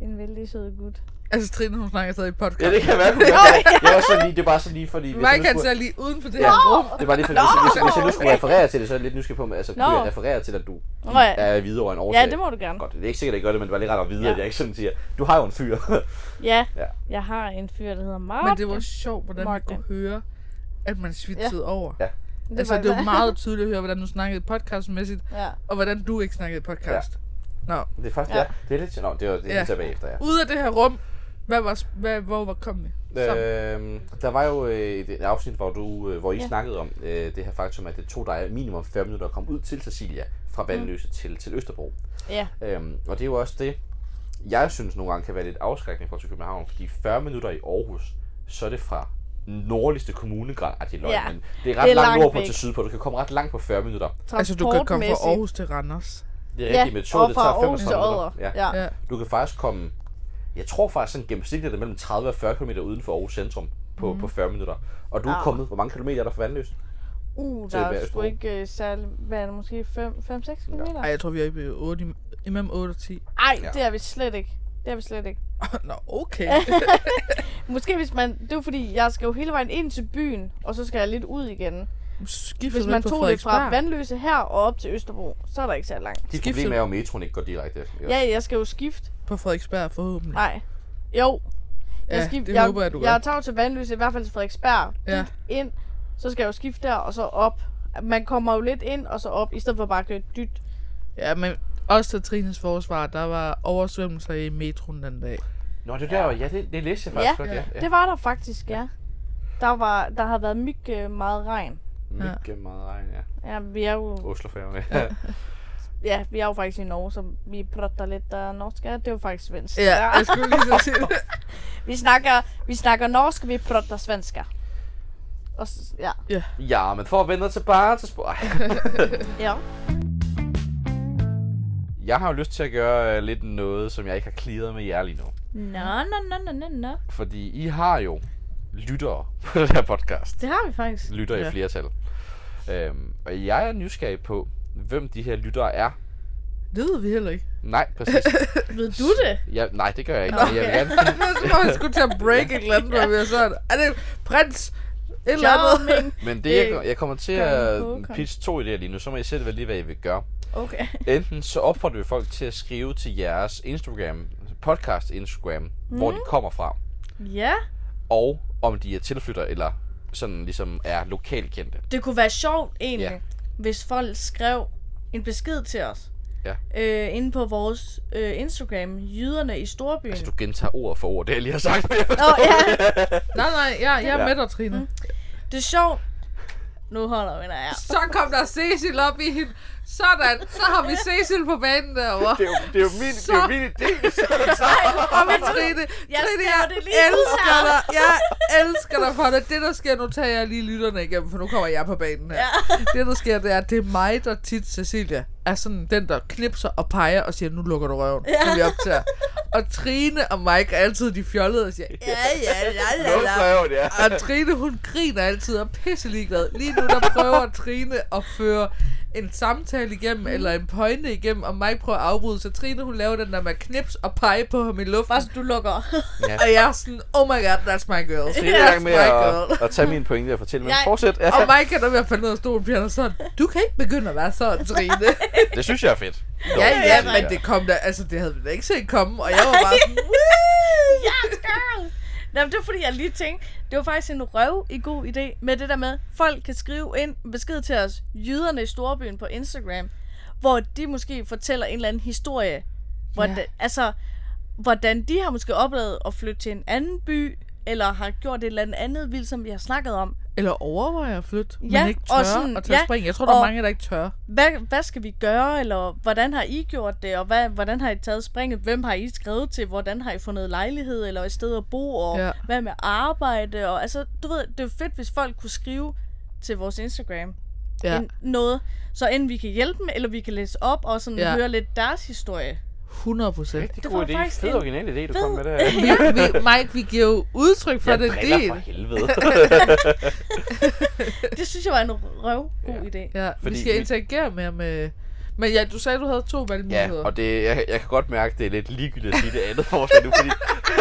Speaker 2: En vældig sød gut.
Speaker 1: Altså, Trine, hun snakker stadig i podcast.
Speaker 3: ja, det kan være, kunne jeg godt. Jeg var sådan lige, det er bare sådan lige, fordi... hvis jeg nu
Speaker 1: Mike, han
Speaker 3: skulle-
Speaker 1: ser lige uden for det
Speaker 3: Ja,
Speaker 1: her rum.
Speaker 3: det var lige fordi, hvis, hvis, hvis jeg nu skulle referere til det, så er jeg lidt nysgerrig på, men altså, kunne
Speaker 2: Nå.
Speaker 3: jeg referere til, at du
Speaker 2: Nå ja.
Speaker 3: er videre over en årsag?
Speaker 2: Ja, det må du gerne.
Speaker 3: Godt, det er ikke sikkert, at jeg gør det, men det var lige ret at vide, ja.
Speaker 2: Ja.
Speaker 3: at jeg ikke sådan siger, du har jo en fyr.
Speaker 2: Ja,
Speaker 3: Ja.
Speaker 2: jeg har en fyr, der hedder Martin.
Speaker 1: Men det var sjovt, hvordan man
Speaker 2: Martin.
Speaker 1: kunne høre, at man svitsede over.
Speaker 3: Ja.
Speaker 2: Det
Speaker 1: Altså,
Speaker 2: var-
Speaker 1: det var meget tydeligt at høre, hvordan du snakkede podcastmæssigt,
Speaker 2: Ja.
Speaker 1: og hvordan du ikke snakkede podcast. Nå,
Speaker 3: det er faktisk, ja.
Speaker 2: Ja.
Speaker 3: ja. det er lidt, nå, det var det er
Speaker 1: Ja.
Speaker 3: ja. tilbage efter, ja.
Speaker 1: ud af det her rum, hvad var, hvad, hvor var kom vi?
Speaker 3: Øh,
Speaker 1: Sammen.
Speaker 3: Øhm, der var jo øh, et et afsnit, hvor, du, øh, hvor I ja.
Speaker 2: Ja.
Speaker 3: snakkede om øh, det her faktum, at det tog dig minimum 40 minutter at komme ud til Cecilia fra Vandløse mm. til, til Østerbro.
Speaker 2: Ja.
Speaker 3: Øhm, og det er jo også det, jeg synes nogle gange kan være lidt afskrækkende for til København, fordi 40 minutter i Aarhus, så er det fra nordligste kommunegrænse. Ej, det er løgn,
Speaker 2: Ja,
Speaker 3: men det er
Speaker 2: det er
Speaker 3: ret det er langt
Speaker 2: langt
Speaker 3: nordpå
Speaker 2: væk.
Speaker 3: til sydpå. Du kan komme ret langt på 40 minutter.
Speaker 1: Altså, du kan komme fra
Speaker 2: Transportmæssigt.
Speaker 1: Aarhus til Randers.
Speaker 3: Det er
Speaker 2: Ja,
Speaker 3: rigtigt med toget,
Speaker 2: og
Speaker 3: det
Speaker 2: fra
Speaker 3: tager
Speaker 2: Aarhus
Speaker 3: 35
Speaker 2: til Odder.
Speaker 3: minutter.
Speaker 2: Ja.
Speaker 1: Ja.
Speaker 3: Du kan faktisk komme, jeg tror faktisk sådan gennemsnitligt er det mellem 30 og 40 km uden for Aarhus centrum på, mm. på 40 minutter. Og du er
Speaker 2: Ah.
Speaker 3: kommet, hvor mange kilometer er der fra Vandløs?
Speaker 2: Uh,
Speaker 3: til
Speaker 2: der er
Speaker 3: Værebro.
Speaker 2: sgu ikke uh, særlig, hvad er det, måske 5-6 km?
Speaker 1: Ej, jeg tror, vi er oppe i 8, i- imellem 8 og 10.
Speaker 2: Ej,
Speaker 3: Ja.
Speaker 2: det er vi slet ikke. Det er vi slet ikke.
Speaker 1: Nå, okay.
Speaker 2: Måske hvis man... Det er jo fordi, jeg skal jo hele vejen ind til byen, og så skal jeg lidt ud igen.
Speaker 1: Skiftet
Speaker 2: Hvis
Speaker 1: lidt
Speaker 2: man
Speaker 1: på
Speaker 2: tog det fra
Speaker 1: Frederiksberg.
Speaker 2: Vandløse her og op til Østerbro, så er der ikke så langt.
Speaker 3: Dit
Speaker 1: Skiftet.
Speaker 3: problem er jo, at metroen ikke går direkte. ikke?
Speaker 2: Ja, jeg skal jo skifte.
Speaker 1: På Frederiksberg forhåbentlig.
Speaker 2: Nej. Jo.
Speaker 1: ja,
Speaker 2: skif-
Speaker 1: det håber jeg, du gør.
Speaker 2: Jeg tager jo til Vandløse, i hvert fald til Frederiksberg.
Speaker 1: Ja.
Speaker 2: Ja. Ind, så skal jeg jo skifte der, og så op. Man kommer jo lidt ind, og så op, i stedet for bare at køre dyt.
Speaker 1: Ja, men også til Trines forsvar, der var oversvømmelser i metroen den dag.
Speaker 3: Nå, det er der, ja, det, det læste jeg faktisk godt, ja.
Speaker 2: Ja.
Speaker 3: ja.
Speaker 2: Det var der faktisk, ja. Der, var, der havde været mygge meget regn.
Speaker 3: Mega meget regn, ja.
Speaker 2: Ja, vi er jo
Speaker 3: Oslofærgen, ja.
Speaker 2: Ja, vi er jo faktisk i Norge, så vi prater lidt uh, norsk. Ja, det er jo faktisk svensk.
Speaker 1: Ja, jeg skulle lige så sige det.
Speaker 2: Vi snakker, vi snakker norsk, vi prater svenska. Og s- ja.
Speaker 3: ja, men for at vende tilbage til spor.
Speaker 2: ja.
Speaker 3: Jeg har jo lyst til at gøre øh, lidt noget, som jeg ikke har clearet med jer lige nu.
Speaker 2: Nå, nå, nå, nå, nå, nå.
Speaker 3: Fordi I har jo lyttere på den her podcast.
Speaker 2: Det har vi faktisk.
Speaker 3: Lytter ja.
Speaker 1: Ja.
Speaker 3: i flertal. Øhm, og jeg er nysgerrig på, hvem de her lyttere er.
Speaker 1: Det ved vi heller ikke.
Speaker 3: Nej, præcis.
Speaker 2: Ved du det?
Speaker 3: Jeg, nej, det gør jeg ikke. men Jeg vil gerne finde,
Speaker 1: Så var jeg skulle til at break et eller andet, hvor vi har sådan, er det prins? Et eller andet.
Speaker 2: Charming.
Speaker 3: men det, jeg,
Speaker 2: Øh,
Speaker 3: gør- jeg kommer til
Speaker 2: gør
Speaker 3: at
Speaker 2: en bogkon.
Speaker 3: pitche to idéer lige nu, så må I selv vælge, hvad I vil gøre.
Speaker 2: Okay.
Speaker 3: Enten så opfordrer vi folk til at skrive til jeres Instagram, podcast Instagram, mm. hvor de kommer fra,
Speaker 2: Ja.
Speaker 3: og om de er tilflytter eller sådan ligesom er lokalkendte.
Speaker 2: Det kunne være sjovt egentlig,
Speaker 3: Ja.
Speaker 2: ja. hvis folk skrev en besked til os.
Speaker 3: Ja.
Speaker 2: Øh, inde på vores øh, Instagram, jyderne i Storbyen.
Speaker 3: Altså, du gentager ord for ord, det jeg lige har sagt. men jeg
Speaker 2: Nå, ja.
Speaker 1: Nej, nej, jeg, jeg er med dig, Trine.
Speaker 2: Det er sjovt. Nu holder vi der, ja.
Speaker 1: Så kom der Cecil op i hende. Sådan, så har vi Cecil på banen derovre.
Speaker 3: Det er jo, det er jo min, det er jo min idé, så er det så.
Speaker 1: Og med Trine,
Speaker 2: Jeg
Speaker 1: Trine,
Speaker 2: skriver
Speaker 1: jeg
Speaker 2: det lige ud
Speaker 1: elsker
Speaker 2: her.
Speaker 1: dig. Jeg elsker dig for det. Det, der sker, nu tager jeg lige lytterne igennem, for nu kommer jeg på banen her. Det, der sker, det er, at det er mig, der tit, Cecilia, er sådan den, der knipser og peger og siger, nu lukker du røven, ja. vi optager. Og Trine og Mike er altid de fjollede og siger, ja, ja, ja, ja,
Speaker 3: Nu
Speaker 1: ja.
Speaker 3: prøver det, ja.
Speaker 1: Og Trine, hun griner altid og er pisse ligeglad. Lige nu, der prøver Trine at føre en samtale igennem,
Speaker 2: Mm.
Speaker 1: eller en pointe igennem, og mig prøver at afbryde. Så Trine, hun laver den der med knips og pege på ham i luften.
Speaker 2: Bare så du lukker.
Speaker 1: Og jeg er sådan, oh my god, that's my girl.
Speaker 3: Det er i gang med
Speaker 1: That's my girl.
Speaker 3: at, at tage min pointe og fortælle, men
Speaker 2: Jeg-
Speaker 3: fortsæt. Ja,
Speaker 1: Og mig kan da være faldet ned af stolen, fordi han er sådan, du kan ikke begynde at være sådan, Trine.
Speaker 3: det synes jeg er fedt. Nå,
Speaker 1: ja, ja,
Speaker 3: det synes
Speaker 1: men
Speaker 3: jeg.
Speaker 1: det kom da, altså det havde vi da ikke set komme, og jeg var bare sådan,
Speaker 2: yes, girl! Nå, men det var fordi, jeg lige tænkte, det var faktisk en røv i god idé med det der med, folk kan skrive ind en besked til os, jyderne i Storbyen på Instagram, hvor de måske fortæller en eller anden historie. Hvordan,
Speaker 1: Ja.
Speaker 2: ja. Altså, hvordan de har måske oplevet at flytte til en anden by, eller har gjort et eller andet andet vildt, som vi har snakket om.
Speaker 1: eller overvejer at flytte,
Speaker 2: Ja,
Speaker 1: men ikke tør
Speaker 2: og
Speaker 1: og,
Speaker 2: sådan,
Speaker 1: og tage
Speaker 2: ja,
Speaker 1: spring. Jeg tror, der er
Speaker 2: og-
Speaker 1: mange, der ikke tør.
Speaker 2: Hvad, hvad skal vi gøre, eller hvordan har I gjort det, og hvad, hvordan har I taget springet? Hvem har I skrevet til? Hvordan har I fundet lejlighed, eller et sted at bo, og
Speaker 1: Ja.
Speaker 2: ja. hvad med arbejde? Og, altså, du ved, det er fedt, hvis folk kunne skrive til vores Instagram
Speaker 1: Ja,
Speaker 2: en, noget, så enten vi kan hjælpe dem, eller vi kan læse op og sådan
Speaker 1: Ja.
Speaker 2: ja. høre lidt deres historie.
Speaker 1: 100 procent.
Speaker 3: Rigtig
Speaker 2: det
Speaker 3: god
Speaker 2: var
Speaker 3: idé.
Speaker 2: faktisk
Speaker 3: Fed
Speaker 2: en
Speaker 3: original idé, du
Speaker 2: fed
Speaker 3: kom med der.
Speaker 1: Vi, vi, Mike, vi giver jo udtryk for
Speaker 3: Jeg
Speaker 1: den
Speaker 3: driller
Speaker 1: del.
Speaker 3: for helvede.
Speaker 2: Det synes jeg var en røv god idé.
Speaker 1: Ja, vi
Speaker 3: Fordi
Speaker 1: skal
Speaker 3: vi-
Speaker 1: interagere mere med... Men ja, du sagde, du havde to
Speaker 3: ja,
Speaker 1: valgmuligheder.
Speaker 3: og det, jeg, jeg kan godt mærke, det er lidt ligegyldigt at sige det andet forslag nu, fordi,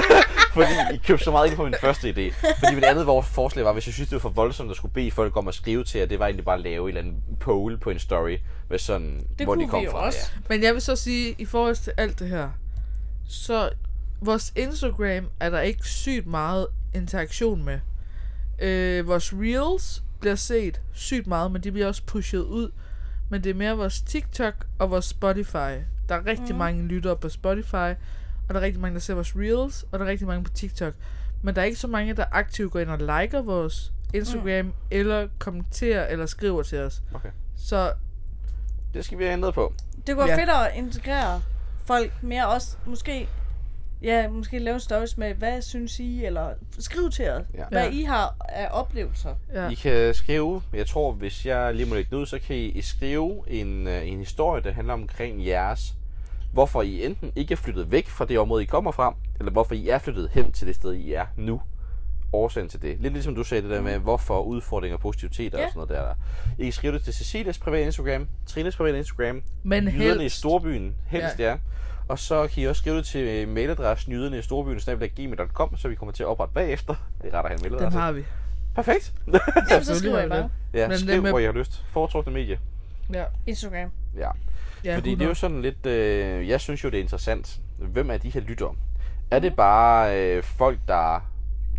Speaker 3: fordi I købte så meget ind på min første idé. Fordi mit andet vores forslag var, hvis jeg synes, det var for voldsomt at skulle bede folk om at skrive til jer, det var egentlig bare at lave en eller anden poll på en story, med sådan, hvor de
Speaker 2: kunne
Speaker 3: kom
Speaker 2: vi jo
Speaker 3: fra.
Speaker 2: også.
Speaker 1: Men jeg vil så sige, i forhold til alt det her, så vores Instagram er der ikke sygt meget interaktion med. Øh, vores Reels bliver set sygt meget, men de bliver også pushet ud. Men det er mere vores TikTok og vores Spotify. Der er rigtig mm. mange lyttere på Spotify, og der er rigtig mange, der ser vores Reels, og der er rigtig mange på TikTok. Men der er ikke så mange, der aktivt går ind og liker vores Instagram, mm. eller kommenterer, eller skriver til os.
Speaker 3: Okay.
Speaker 1: Så
Speaker 3: Det skal vi have ændret på.
Speaker 2: Det kunne være
Speaker 1: Ja.
Speaker 2: ja. fedt at integrere folk mere også. Måske, ja, måske lave en stories med, hvad synes I, eller skriv til os,
Speaker 3: Ja.
Speaker 2: ja. hvad
Speaker 1: Ja.
Speaker 2: I har af oplevelser.
Speaker 1: ja.
Speaker 3: I kan skrive, jeg tror, hvis jeg lige må lægge den ud, så kan I skrive en, øh, en historie, der handler omkring jeres, hvorfor I enten ikke er flyttet væk fra det område, I kommer fra, eller hvorfor I er flyttet hen til det sted, I er nu. årsagen til det. Lidt ligesom du sagde det der
Speaker 1: Mm.
Speaker 3: med, hvorfor udfordringer og positivitet og
Speaker 2: Ja.
Speaker 3: sådan noget der. I kan skrive det til Cecilias private Instagram, Trines private Instagram,
Speaker 1: Men
Speaker 3: Nyderne i
Speaker 1: helst.
Speaker 3: Storbyen, helst ja. ja. Og så kan I også skrive det til øh, mailadressen nyderne i storbyen, snabelaggmail.com, så vi kommer til at oprette bagefter. Det retter han
Speaker 1: Den
Speaker 3: mailadressen.
Speaker 1: har vi.
Speaker 3: Perfekt.
Speaker 2: Jamen, så skriver jeg
Speaker 1: Selvfølgelig har
Speaker 2: bare.
Speaker 1: vi
Speaker 3: ja,
Speaker 1: Men
Speaker 3: skriv,
Speaker 1: det med-
Speaker 3: hvor I har lyst. Foretrukne medie.
Speaker 1: Ja.
Speaker 2: Instagram.
Speaker 3: Ja.
Speaker 1: ja
Speaker 3: Fordi det er jo
Speaker 1: 100.
Speaker 3: sådan lidt, øh, jeg synes jo, det er interessant. Hvem er de her lyttere? Er det bare øh, folk, der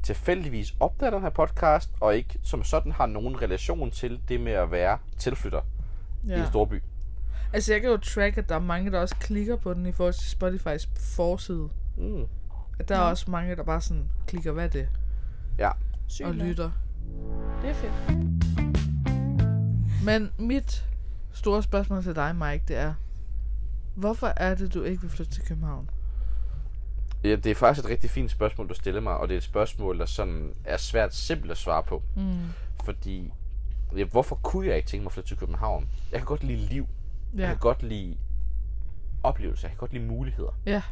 Speaker 3: tilfældigvis opdager den her podcast, og ikke som sådan har nogen relation til det med at være tilflytter ja. i en
Speaker 1: ja.
Speaker 3: storby?
Speaker 1: Altså, jeg kan jo track, at der er mange, der også klikker på den i forhold til Spotify's forside.
Speaker 3: Mm.
Speaker 1: At der er også mange, der bare sådan klikker, hvad er det
Speaker 3: Ja.
Speaker 2: Sygt
Speaker 1: og
Speaker 2: nok.
Speaker 1: lytter.
Speaker 2: Det er fedt.
Speaker 1: Men mit store spørgsmål til dig, Mike, det er, hvorfor er det, du ikke vil flytte til København?
Speaker 3: ja. Det er faktisk et rigtig fint spørgsmål, du stiller mig, og det er et spørgsmål, der sådan er svært simpelt at svare på.
Speaker 1: Mm.
Speaker 3: Fordi, ja, hvorfor kunne jeg ikke tænke mig at flytte til København? Jeg kan godt lide liv. Ja. Jeg
Speaker 1: Ja.
Speaker 3: kan godt lide oplevelser. Jeg kan godt lide muligheder.
Speaker 1: Ja.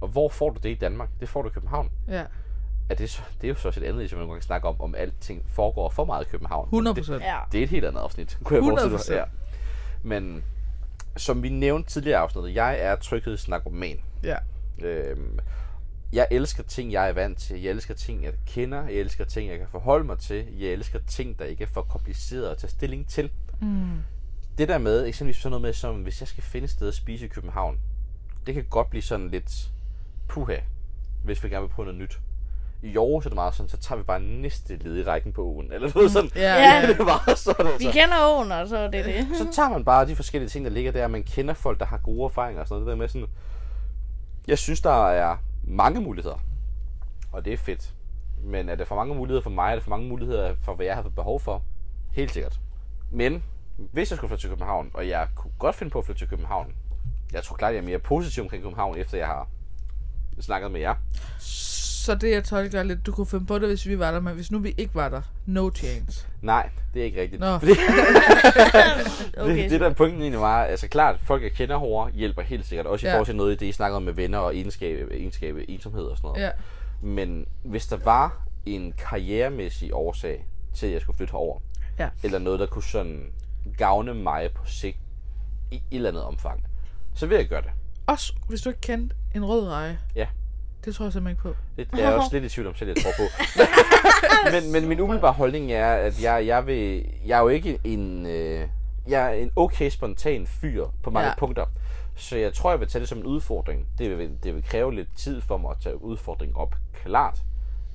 Speaker 3: Og hvor får du det i Danmark? Det får du i København.
Speaker 1: Ja.
Speaker 3: er det, så- det er jo så også et andet, som man kan snakke om, om alting foregår for meget i København.
Speaker 1: 100
Speaker 3: det,
Speaker 1: procent.
Speaker 2: Ja.
Speaker 3: det er et helt andet afsnit, kunne jeg forestille
Speaker 1: 100%.
Speaker 3: mig. Ja. Men som vi nævnte tidligere i afsnittet, jeg er tryghedsnarkoman.
Speaker 1: Ja.
Speaker 3: Øhm, jeg elsker ting, jeg er vant til. Jeg elsker ting, jeg kender. Jeg elsker ting, jeg kan forholde mig til. Jeg elsker ting, der ikke er for komplicerede at tage stilling til.
Speaker 1: Mm.
Speaker 3: Det der med, eksempelvis sådan noget med, som hvis jeg skal finde et sted at spise i København, det kan godt blive sådan lidt puha, hvis vi gerne vil prøve noget nyt. I år så er det meget sådan, så tager vi bare næste led i rækken på ugen, eller noget sådan.
Speaker 1: Mm. Ja,
Speaker 2: Ja.
Speaker 1: ja.
Speaker 3: Det er bare sådan,
Speaker 2: Vi
Speaker 3: altså.
Speaker 2: kender åen, og så er det det.
Speaker 3: Så tager man bare de forskellige ting, der ligger der, og man kender folk, der har gode erfaringer og sådan noget. Det der med sådan, jeg synes, der er mange muligheder, og det er fedt. Men er der for mange muligheder for mig? Er der for mange muligheder for, hvad jeg har behov for? Helt sikkert. Men hvis jeg skulle flytte til København, og jeg kunne godt finde på at flytte til København, jeg tror klart, jeg er mere positiv omkring København, efter jeg har snakket med jer.
Speaker 1: Så det, jeg tolker er lidt, du kunne finde på det, hvis vi var der, men hvis nu vi ikke var der, no chance.
Speaker 3: Nej, det er ikke rigtigt.
Speaker 1: Nå.
Speaker 3: Fordi,
Speaker 2: Okay,
Speaker 3: det, det der er pointen egentlig var, altså klart, folk jeg kender hårdere hjælper helt sikkert. Også i
Speaker 1: Ja.
Speaker 3: forhold til noget i det, I snakkede om med venner og egenskabe, egenskabe ensomhed og sådan noget.
Speaker 1: Ja.
Speaker 3: Men hvis der var en karrieremæssig årsag til, at jeg skulle flytte herover,
Speaker 1: Ja.
Speaker 3: eller noget, der kunne sådan gavne mig på sigt i et eller andet omfang, så vil jeg gøre det.
Speaker 1: Også hvis du ikke kendte en rød reje.
Speaker 3: Ja.
Speaker 1: Det tror jeg simpelthen ikke på.
Speaker 3: Det er jeg også lidt i tvivl om selv, jeg tror på. men, men min umiddelbare holdning er, at jeg, jeg, vil, jeg er jo ikke en, øh, jeg er en okay spontan fyr på mange
Speaker 1: Ja.
Speaker 3: ja. punkter. Så jeg tror, jeg vil tage det som en udfordring. Det vil, det vil kræve lidt tid for mig at tage udfordringen op, klart.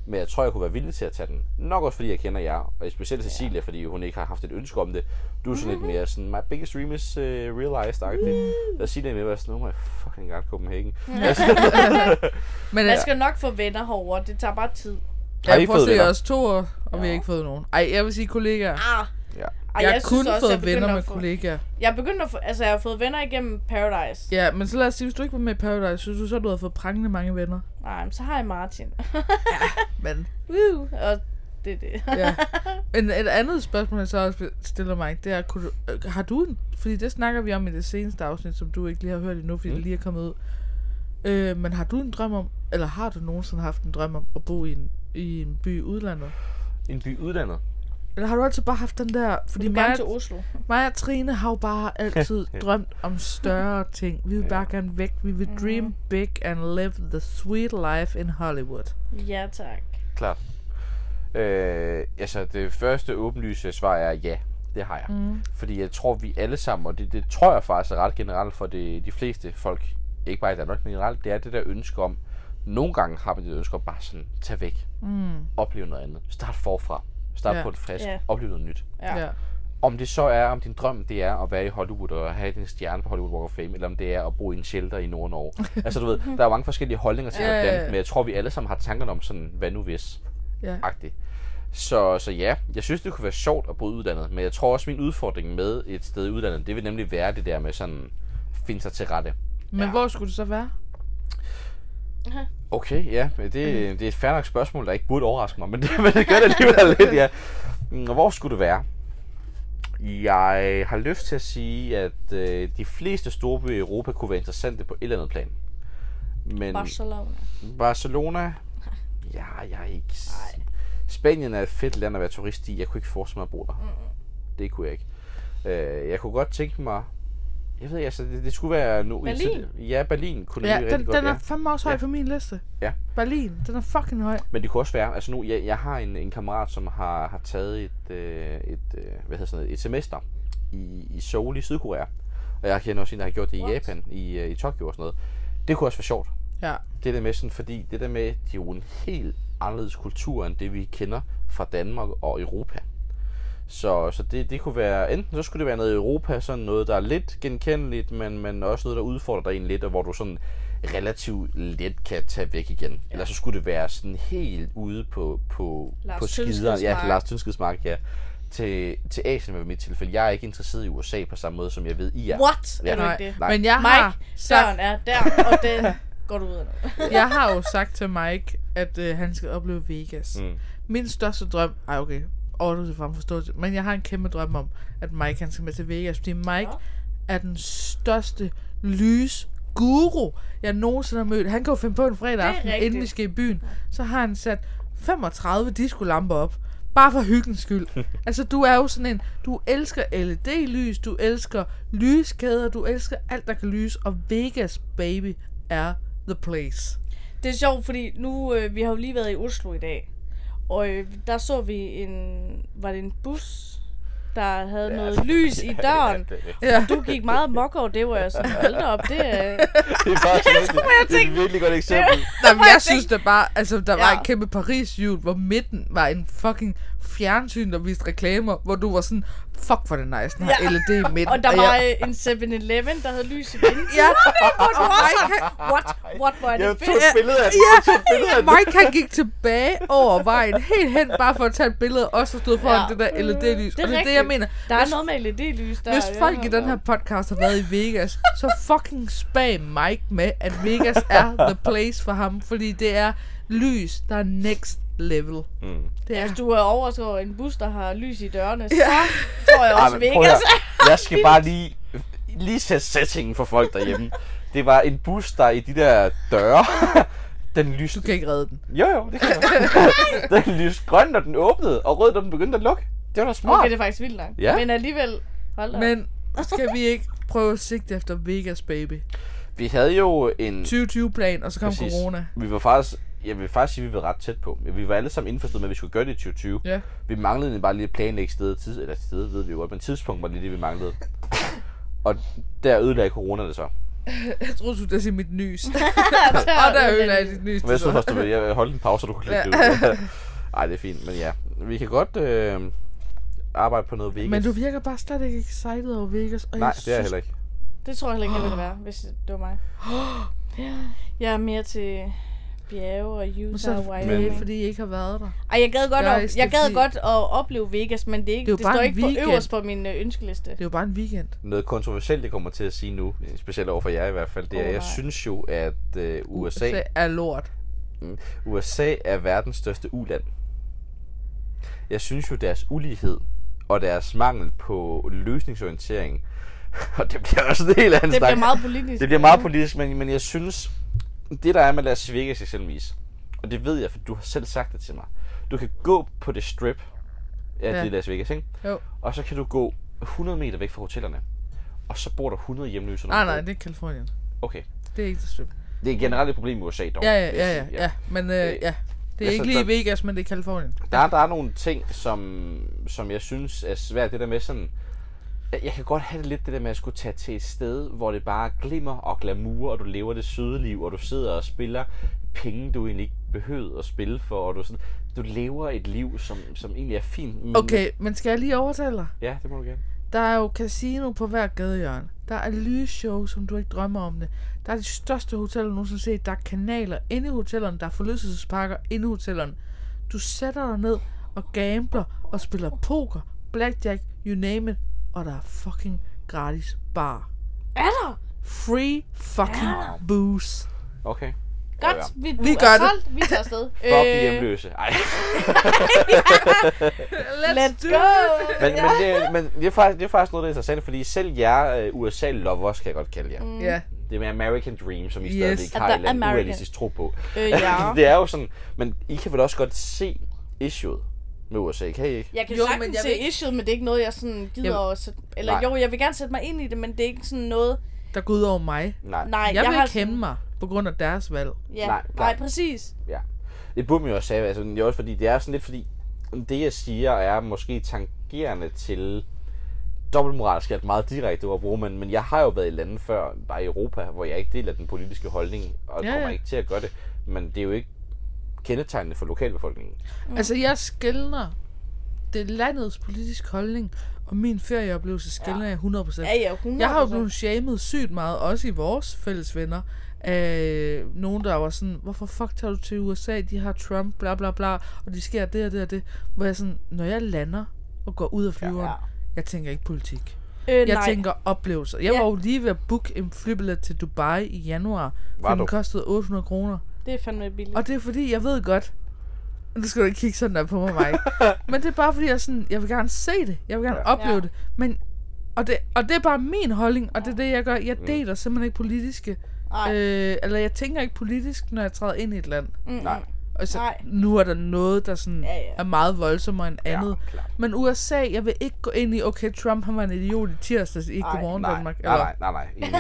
Speaker 3: Men jeg tror, jeg kunne være villig til at tage den. Nok også fordi jeg kender jer, og specielt Cecilia, ja. fordi hun ikke har haft et ønske om det. Du er sådan lidt mere sådan, my biggest dream is uh, realized-agtig. Der siger det med, at være sådan, oh my fucking god, Copenhagen. Altså,
Speaker 1: Men
Speaker 2: Man skal nok få venner herovre. Det tager bare tid.
Speaker 1: jeg,
Speaker 3: Har I
Speaker 1: jeg prøver at
Speaker 3: fået
Speaker 1: se
Speaker 3: venner?
Speaker 1: os to år, og ja. vi har ikke fået nogen. Ej, jeg vil sige kollegaer.
Speaker 2: Ah.
Speaker 3: Ja.
Speaker 2: Ej,
Speaker 1: jeg har
Speaker 2: synes
Speaker 1: kun
Speaker 2: også,
Speaker 1: fået
Speaker 2: jeg begynder
Speaker 1: venner med
Speaker 2: at få,
Speaker 1: kollegaer.
Speaker 2: Jeg er begyndt at få, altså jeg har fået venner igennem Paradise.
Speaker 1: Ja, men så lad os sige, hvis du ikke var med i Paradise, synes du så, du havde fået prangende mange venner.
Speaker 2: Nej, men så har jeg Martin.
Speaker 1: Men,
Speaker 2: Woo! Og det er det.
Speaker 1: ja. Men et andet spørgsmål, jeg så også stiller mig, det er, kunne du, øh, har du en, fordi det snakker vi om i det seneste afsnit, som du ikke lige har hørt endnu, fordi mm. det lige er kommet ud. Øh, men har du en drøm om, eller har du nogensinde haft en drøm om at bo i en, i en by i udlandet?
Speaker 3: En by uddannet.
Speaker 1: Eller har du altid bare haft den der, fordi
Speaker 2: Du
Speaker 1: mig,
Speaker 2: gerne til
Speaker 1: og-
Speaker 2: Oslo.
Speaker 1: mig og Trine har jo bare altid drømt om større ting. Vi vil bare gerne væk. Vi vil
Speaker 2: Mhm.
Speaker 1: dream big and live the sweet life in Hollywood.
Speaker 2: Ja, tak.
Speaker 3: Klart. Øh, altså, det første åbenlyse svar er ja. Det har jeg. Mm. Fordi jeg tror, vi alle sammen, og det, det tror jeg faktisk er ret generelt for det, de fleste folk, ikke bare i Danmark, men generelt, det er det der ønske om, nogle gange har man det ønske om bare sådan, tage væk,
Speaker 1: Mm.
Speaker 3: opleve noget andet, start forfra, start
Speaker 1: Ja.
Speaker 3: ja. på et frisk,
Speaker 2: Ja.
Speaker 3: ja. opleve noget nyt.
Speaker 2: Ja. ja.
Speaker 3: Om det så er, om din drøm det er at være i Hollywood og have din stjerne på Hollywood Walk of Fame, eller om det er at bo i en shelter i Nord-Norge. altså du ved, der er mange forskellige holdninger til,
Speaker 1: Ja, ja,
Speaker 3: hvordan,
Speaker 1: ja.
Speaker 3: men jeg tror, vi alle sammen har tankerne om sådan, hvad nu hvis?
Speaker 1: Ja.
Speaker 3: agtig så, så ja, jeg synes, det kunne være sjovt at bo i udlandet, men jeg tror også, min udfordring med et sted i udlandet, det vil nemlig være det der med sådan, finde sig til rette.
Speaker 1: Men ja. hvor skulle det så være?
Speaker 3: Okay, ja, men det, mm. det er et fair nok spørgsmål, der ikke burde overraske mig, men det, men det gør det alligevel lidt, ja. Mm, Og hvor skulle det være? Jeg har lyst til at sige, at øh, de fleste storbyer i Europa kunne være interessante på et eller andet plan. Men
Speaker 2: Barcelona.
Speaker 3: Barcelona? Ja, jeg er ikke s- Spanien er et fedt land at være turist i. Jeg kunne ikke forestille mig at bo der. Det kunne jeg ikke. Øh, jeg kunne godt tænke mig... Jeg ved ikke, altså, det, det skulle være nu...
Speaker 2: Berlin?
Speaker 3: Ja, Berlin kunne
Speaker 1: Ja,
Speaker 3: jeg rigtig
Speaker 1: den,
Speaker 3: godt,
Speaker 1: den er
Speaker 3: ja.
Speaker 1: fandme også høj
Speaker 3: Ja.
Speaker 1: på min liste.
Speaker 3: Ja.
Speaker 1: Berlin, den er fucking høj.
Speaker 3: Men det kunne også være, altså nu, jeg, jeg har en, en kammerat, som har, har taget et, øh, et, øh, hvad hedder sådan noget, et semester i, i Seoul i Sydkorea. Og jeg kender også en, der har gjort det i
Speaker 2: What?
Speaker 3: Japan, i, øh, i Tokyo og sådan noget. Det kunne også være sjovt.
Speaker 1: Ja.
Speaker 3: Det der med sådan, fordi det der med, det er jo en helt anderledes kultur, end det vi kender fra Danmark og Europa. Så, så det, det kunne være, enten så skulle det være noget i Europa, sådan noget, der er lidt genkendeligt, men, men også noget, der udfordrer dig en lidt, og hvor du sådan relativt let kan tage væk igen. Ja. Eller så skulle det være sådan helt ude på, på,
Speaker 2: Lars
Speaker 3: på
Speaker 2: Tyndskids
Speaker 3: skideren. Ja,
Speaker 2: mark.
Speaker 3: til Lars Tønskeds mark, ja. Til, til Asien var mit tilfælde. Jeg er ikke interesseret i USA på samme måde, som jeg ved, I er.
Speaker 2: What?
Speaker 3: Ja.
Speaker 2: Er du ikke det?
Speaker 3: Nej.
Speaker 1: Men jeg har,
Speaker 2: Mike, Søren er der, og det går du ud af nu.
Speaker 1: jeg har jo sagt til Mike, at øh, han skal opleve Vegas.
Speaker 3: Mm.
Speaker 1: Min største drøm... Ej, okay. Overdrivelse frem forståelse. Men jeg har en kæmpe drøm om, at Mike han skal med til Vegas. Fordi Mike ja.
Speaker 2: Nå.
Speaker 1: er den største lys guru, jeg nogensinde har mødt. Han kan jo finde på en fredag
Speaker 2: er
Speaker 1: aften,
Speaker 2: rigtigt.
Speaker 1: inden vi skal i byen. Så har han sat 35 discolamper op. Bare for hyggens skyld. altså, du er jo sådan en... Du elsker LED-lys, du elsker lyskæder, du elsker alt, der kan lyse. Og Vegas, baby, er the place.
Speaker 2: Det er sjovt, fordi nu, øh, vi har jo lige været i Oslo i dag, og øh, der så vi en, var det en bus, der havde ja, noget lys i døren.
Speaker 3: Ja, det, det.
Speaker 1: Ja.
Speaker 2: Du gik meget mok over det, hvor jeg sådan, hold da op, det er...
Speaker 3: Det er bare sådan, det, det er et virkelig godt eksempel.
Speaker 1: Nej, men
Speaker 2: Hvor
Speaker 1: jeg
Speaker 2: jeg
Speaker 1: synes da bare, altså der var
Speaker 2: Ja.
Speaker 1: et kæmpe paris jul hvor midten var en fucking fjernsyn, der viste reklamer, hvor du var sådan, fuck hvor er det nice, den har
Speaker 2: Ja.
Speaker 1: LED i midten.
Speaker 2: Og der var
Speaker 1: jeg,
Speaker 2: øh, en 7-Eleven, der havde lys i vinduet.
Speaker 1: ja,
Speaker 2: Og sådan, what, what var
Speaker 3: Jeg
Speaker 2: det
Speaker 3: tog
Speaker 2: fedt?
Speaker 3: et billede af det.
Speaker 1: Ja.
Speaker 3: Jeg tog et billede af det.
Speaker 1: Mike han gik tilbage over vejen, helt hen, bare for at tage et billede, og så stod foran ja.
Speaker 2: Ja.
Speaker 1: det der LED-lys. og det
Speaker 2: Det er
Speaker 1: er det,
Speaker 2: rigtigt.
Speaker 1: jeg mener.
Speaker 2: Der er
Speaker 1: hvis,
Speaker 2: noget med LED-lys der.
Speaker 1: hvis folk i den her podcast har været i Vegas, så fucking spag Mike med, at Vegas er the place for ham, fordi det er lys, der er next level.
Speaker 3: Mm.
Speaker 1: Det er
Speaker 2: Hvis du er overrasket over en bus, der har lys i dørene, så tror jeg
Speaker 3: Ej,
Speaker 2: også
Speaker 3: men prøv at
Speaker 2: Vegas.
Speaker 3: høre. Jeg skal bare lige, lige sætte settingen for folk derhjemme. Det var en bus, der i de der døre, den lyste.
Speaker 1: Du kan ikke redde den.
Speaker 3: Jo jo, det kan jeg. den lyste grøn, når den åbnede, og rød, når den begyndte at lukke. Det var da smart.
Speaker 2: Okay, det er faktisk vildt langt.
Speaker 3: Ja.
Speaker 2: Men alligevel, hold da op.
Speaker 1: Men skal vi ikke prøve at sigte efter Vegas, baby?
Speaker 3: Vi havde jo en...
Speaker 1: 2020-plan, og så kom
Speaker 3: Præcis.
Speaker 1: corona.
Speaker 3: Vi var faktisk... Jeg vil faktisk sige, at vi var ret tæt på. Vi var alle sammen indforstået med, at vi skulle gøre det i 2020.
Speaker 1: Ja.
Speaker 3: Vi manglede egentlig bare lige at planlægge stedet, tids, eller stedet ved vi jo godt, men tidspunkt var lige det, vi manglede. Og der ødelagde corona det så.
Speaker 1: Jeg troede, du ville sige mit nys.
Speaker 2: der,
Speaker 1: og der ødelagde jeg dit nys.
Speaker 3: Men jeg stod først, du ved, jeg holdt en pause, så du kunne klippe det ud. Ej, det er fint, men ja. Vi kan godt øh, arbejde på noget Vegas.
Speaker 1: Men du virker bare slet ikke excited over Vegas. Og
Speaker 3: Nej,
Speaker 1: jeg
Speaker 3: det er jeg
Speaker 1: synes-
Speaker 3: heller ikke.
Speaker 2: Det tror jeg heller ikke, jeg ville være, hvis det var mig. Jeg er mere til bjerge og
Speaker 1: Men
Speaker 2: Utah
Speaker 1: så
Speaker 2: og
Speaker 1: er det
Speaker 2: Wyoming.
Speaker 1: ikke, fordi I ikke har været der.
Speaker 2: Ej, jeg gad godt,
Speaker 1: Guys,
Speaker 2: at,
Speaker 1: det
Speaker 2: jeg
Speaker 1: er
Speaker 2: gad
Speaker 1: fordi-
Speaker 2: godt at opleve Vegas, men det, er
Speaker 1: Det er
Speaker 2: ikke,
Speaker 1: jo
Speaker 2: det,
Speaker 1: bare
Speaker 2: står
Speaker 1: en
Speaker 2: ikke på
Speaker 1: weekend.
Speaker 2: øverst på min øh, ønskeliste.
Speaker 1: Det er jo bare en weekend.
Speaker 3: Noget kontroversielt, jeg kommer til at sige nu, specielt over for jer i hvert fald, det er,
Speaker 2: Åh,
Speaker 3: jeg
Speaker 2: nej.
Speaker 3: synes jo, at øh, USA,
Speaker 1: Det er lort.
Speaker 3: USA er verdens største uland. Jeg synes jo, deres ulighed og deres mangel på løsningsorientering, og det bliver også en helt anden
Speaker 2: Det
Speaker 3: snak.
Speaker 2: bliver meget politisk.
Speaker 3: Det bliver meget politisk, men, men jeg synes, det der er med Las Vegas eksempelvis, og det ved jeg, for du har selv sagt det til mig, du kan gå på det strip, ja, ja.
Speaker 1: Ja.
Speaker 3: det er Las Vegas, ikke?
Speaker 1: Jo.
Speaker 3: Og så kan du gå 100 meter væk fra hotellerne, og så bor der 100 hjemløse.
Speaker 1: Nej,
Speaker 3: nogle
Speaker 1: nej,
Speaker 3: steder.
Speaker 1: det er Kalifornien.
Speaker 3: Okay.
Speaker 1: Det er ikke det strip.
Speaker 3: Det er generelt et problem i USA dog.
Speaker 1: Ja, ja,
Speaker 3: vil
Speaker 1: ja,
Speaker 3: jeg
Speaker 1: ja,
Speaker 3: sige,
Speaker 1: ja. Men øh,
Speaker 3: Øh,
Speaker 1: ja, det er
Speaker 3: altså,
Speaker 1: ikke lige
Speaker 3: der-
Speaker 1: Vegas, men det er Kalifornien.
Speaker 3: Der, er, der er nogle ting, som, som jeg synes er svært. Det der med sådan... Jeg jeg kan godt have det lidt det der med at skulle tage til et sted, hvor det bare glimmer og glamour, og du lever det søde liv, og du sidder og spiller penge, du egentlig ikke behøvede at spille for, og du, sådan, du lever et liv, som, som egentlig er fint. Men,
Speaker 1: Okay, men skal jeg lige overtale dig?
Speaker 3: Ja, det må du gerne.
Speaker 1: Der er jo casino på hver gadehjørne. Der er lysshow, som du ikke drømmer om det. Der er de største hoteller du nogensinde set. Der er kanaler inde i hotellerne. Der er forlystelsesparker inde i hotellerne. Du sætter dig ned og gambler og spiller poker, blackjack, you name it. Og der er fucking gratis bar.
Speaker 2: Er der?
Speaker 1: Free fucking booze.
Speaker 3: Okay.
Speaker 2: Godt,
Speaker 3: Ja,
Speaker 2: vi,
Speaker 1: Vi
Speaker 2: vi
Speaker 1: gør
Speaker 2: gør
Speaker 1: det.
Speaker 2: solgt. Vi tager afsted.
Speaker 3: Fuck øh... hjemløse. Ej.
Speaker 2: let's go!
Speaker 3: Men, men, det, men det, er faktisk, det er faktisk noget, der er interessant, fordi selv jer øh, USA-lovers, kan jeg godt kalde jer. Mm.
Speaker 1: Ja,
Speaker 3: Det med American Dream, som I
Speaker 1: Yes.
Speaker 3: yes. stadigvæk
Speaker 2: At
Speaker 3: har
Speaker 2: der
Speaker 3: en eller anden
Speaker 2: er American.
Speaker 3: urealistisk tro på.
Speaker 2: Øh, ja.
Speaker 3: det er jo sådan, men I kan vel også godt se, issueet med USA, kan I ikke?
Speaker 2: Jeg kan
Speaker 1: Jo,
Speaker 2: jo,
Speaker 1: men
Speaker 2: sagtens
Speaker 1: jeg
Speaker 2: se
Speaker 1: vil ikke-
Speaker 2: issueet, men det er ikke noget, jeg sådan gider
Speaker 1: Jeg-
Speaker 2: at sætte... Eller
Speaker 3: Nej.
Speaker 2: jo, jeg vil gerne sætte mig ind i det, men det er ikke sådan noget...
Speaker 1: der går ud over mig.
Speaker 3: Nej.
Speaker 2: Nej,
Speaker 1: Jeg, jeg vil
Speaker 2: har
Speaker 1: ikke kæmpe mig på grund af deres valg.
Speaker 2: Ja,
Speaker 3: Nej,
Speaker 2: nej,
Speaker 3: nej.
Speaker 2: nej, præcis.
Speaker 3: Ja. Det burde man jo også have, altså, det er også fordi, det er sådan lidt fordi, det jeg siger er måske tangerende til dobbeltmoralsk er et meget direkte ord at bruge, men, men jeg har jo været i lande før, bare i Europa, hvor jeg ikke deler den politiske holdning, og
Speaker 1: Ja,
Speaker 3: ja, kommer
Speaker 1: ja.
Speaker 3: ikke til at gøre det, men det er jo ikke kendetegnende for lokalbefolkningen.
Speaker 1: Mm. Altså, jeg skældner det er landets politiske holdning, og min ferieoplevelse skældner jeg 100%.
Speaker 2: Ja, ja, 100%.
Speaker 1: Jeg har jo blevet shamed sygt meget, også i vores fælles venner, af nogen, der var sådan, hvorfor fuck tager du til USA, de har Trump, bla bla bla, og de sker det og det og det. Hvor jeg sådan, når jeg lander og går ud af flyveren, ja,
Speaker 3: ja.
Speaker 1: ja. jeg tænker ikke politik. Jeg
Speaker 2: øh, nej.
Speaker 1: tænker oplevelser. Jeg
Speaker 2: Ja.
Speaker 1: var jo lige ved at booke en flybillet til Dubai i januar, for
Speaker 3: Var
Speaker 1: den
Speaker 3: du?
Speaker 1: kostede 800 kroner.
Speaker 2: Det er fandme billigt.
Speaker 1: Og det er fordi, jeg ved godt, nu skal du ikke kigge sådan der på mig, Mike. men det er bare fordi, jeg, er sådan, jeg vil gerne se det. Jeg vil gerne
Speaker 3: Ja.
Speaker 1: ja. opleve
Speaker 2: Ja.
Speaker 1: det. Men, og, det, og det er bare min holdning, og det er det, jeg gør. Jeg
Speaker 3: Mm.
Speaker 1: deler simpelthen ikke politiske.
Speaker 2: Nej.
Speaker 1: Øh, eller jeg tænker ikke politisk, når jeg træder ind i et land.
Speaker 2: Mm,
Speaker 3: Nej.
Speaker 1: Og så,
Speaker 2: Nej.
Speaker 1: nu er der noget, der sådan ja,
Speaker 2: Ja,
Speaker 1: ja.
Speaker 2: ja.
Speaker 1: er meget voldsommere end andet.
Speaker 3: Ja, klart.
Speaker 1: Men USA, jeg vil ikke gå ind i, okay, Trump han var en idiot i tirsdags, ikke
Speaker 2: Ej,
Speaker 1: godmorgen
Speaker 3: nej,
Speaker 1: Danmark.
Speaker 3: nej, nej, nej, nej, enig.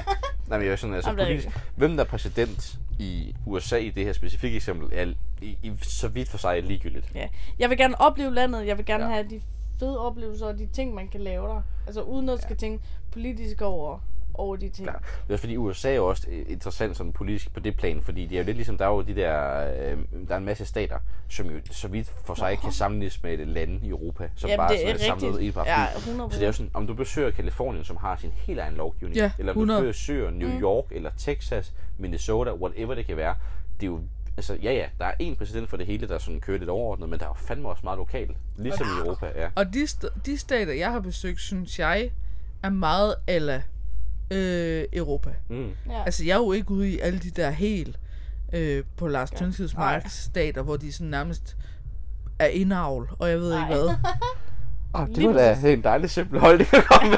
Speaker 3: nej, men jeg er sådan, altså,
Speaker 2: Jamen, det er
Speaker 3: politisk, hvem der er præsident i USA i det her specifikke eksempel, er i, i, så vidt for sig ligegyldigt.
Speaker 2: Ja. Jeg vil gerne opleve landet. Jeg vil gerne
Speaker 3: Ja.
Speaker 2: ja. have de fede oplevelser og de ting, man kan lave der. Altså uden at skal tænke politisk over, over de ting.
Speaker 3: Ja. Det er også fordi USA er jo også øh, interessant sådan politisk på det plan, fordi det er jo lidt ligesom, der er jo de der, øh, der er en masse stater, som jo så vidt for sig ikke kan sammenlignes med et land i Europa, som
Speaker 2: Jamen,
Speaker 3: bare
Speaker 2: det
Speaker 3: sådan
Speaker 2: er
Speaker 3: er samlet
Speaker 2: rigtigt.
Speaker 3: i et par
Speaker 2: Ja,
Speaker 3: fly.
Speaker 2: 100%.
Speaker 3: Så det er jo sådan, om du besøger Kalifornien, som har sin helt egen lovgivning,
Speaker 1: Ja,
Speaker 3: eller om
Speaker 1: 100.
Speaker 3: du besøger New York, mm. eller Texas, Minnesota, whatever det kan være, det er jo Altså, ja, ja, der er én præsident for det hele, der sådan kører lidt overordnet, men der er jo fandme også meget lokalt, ligesom i Europa, ja.
Speaker 1: Og de, st- de stater, jeg har besøgt, synes jeg, er meget ala øh, Europa.
Speaker 3: Mm.
Speaker 2: Ja.
Speaker 1: Altså, jeg er jo ikke ude i alle de der helt øh, på Lars Tønskids Marks stater, hvor de sådan nærmest er indavl, og jeg ved ikke
Speaker 2: Nej.
Speaker 1: hvad.
Speaker 3: Oh, det
Speaker 2: Lige
Speaker 3: var da en dejlig simpel holdning at komme med.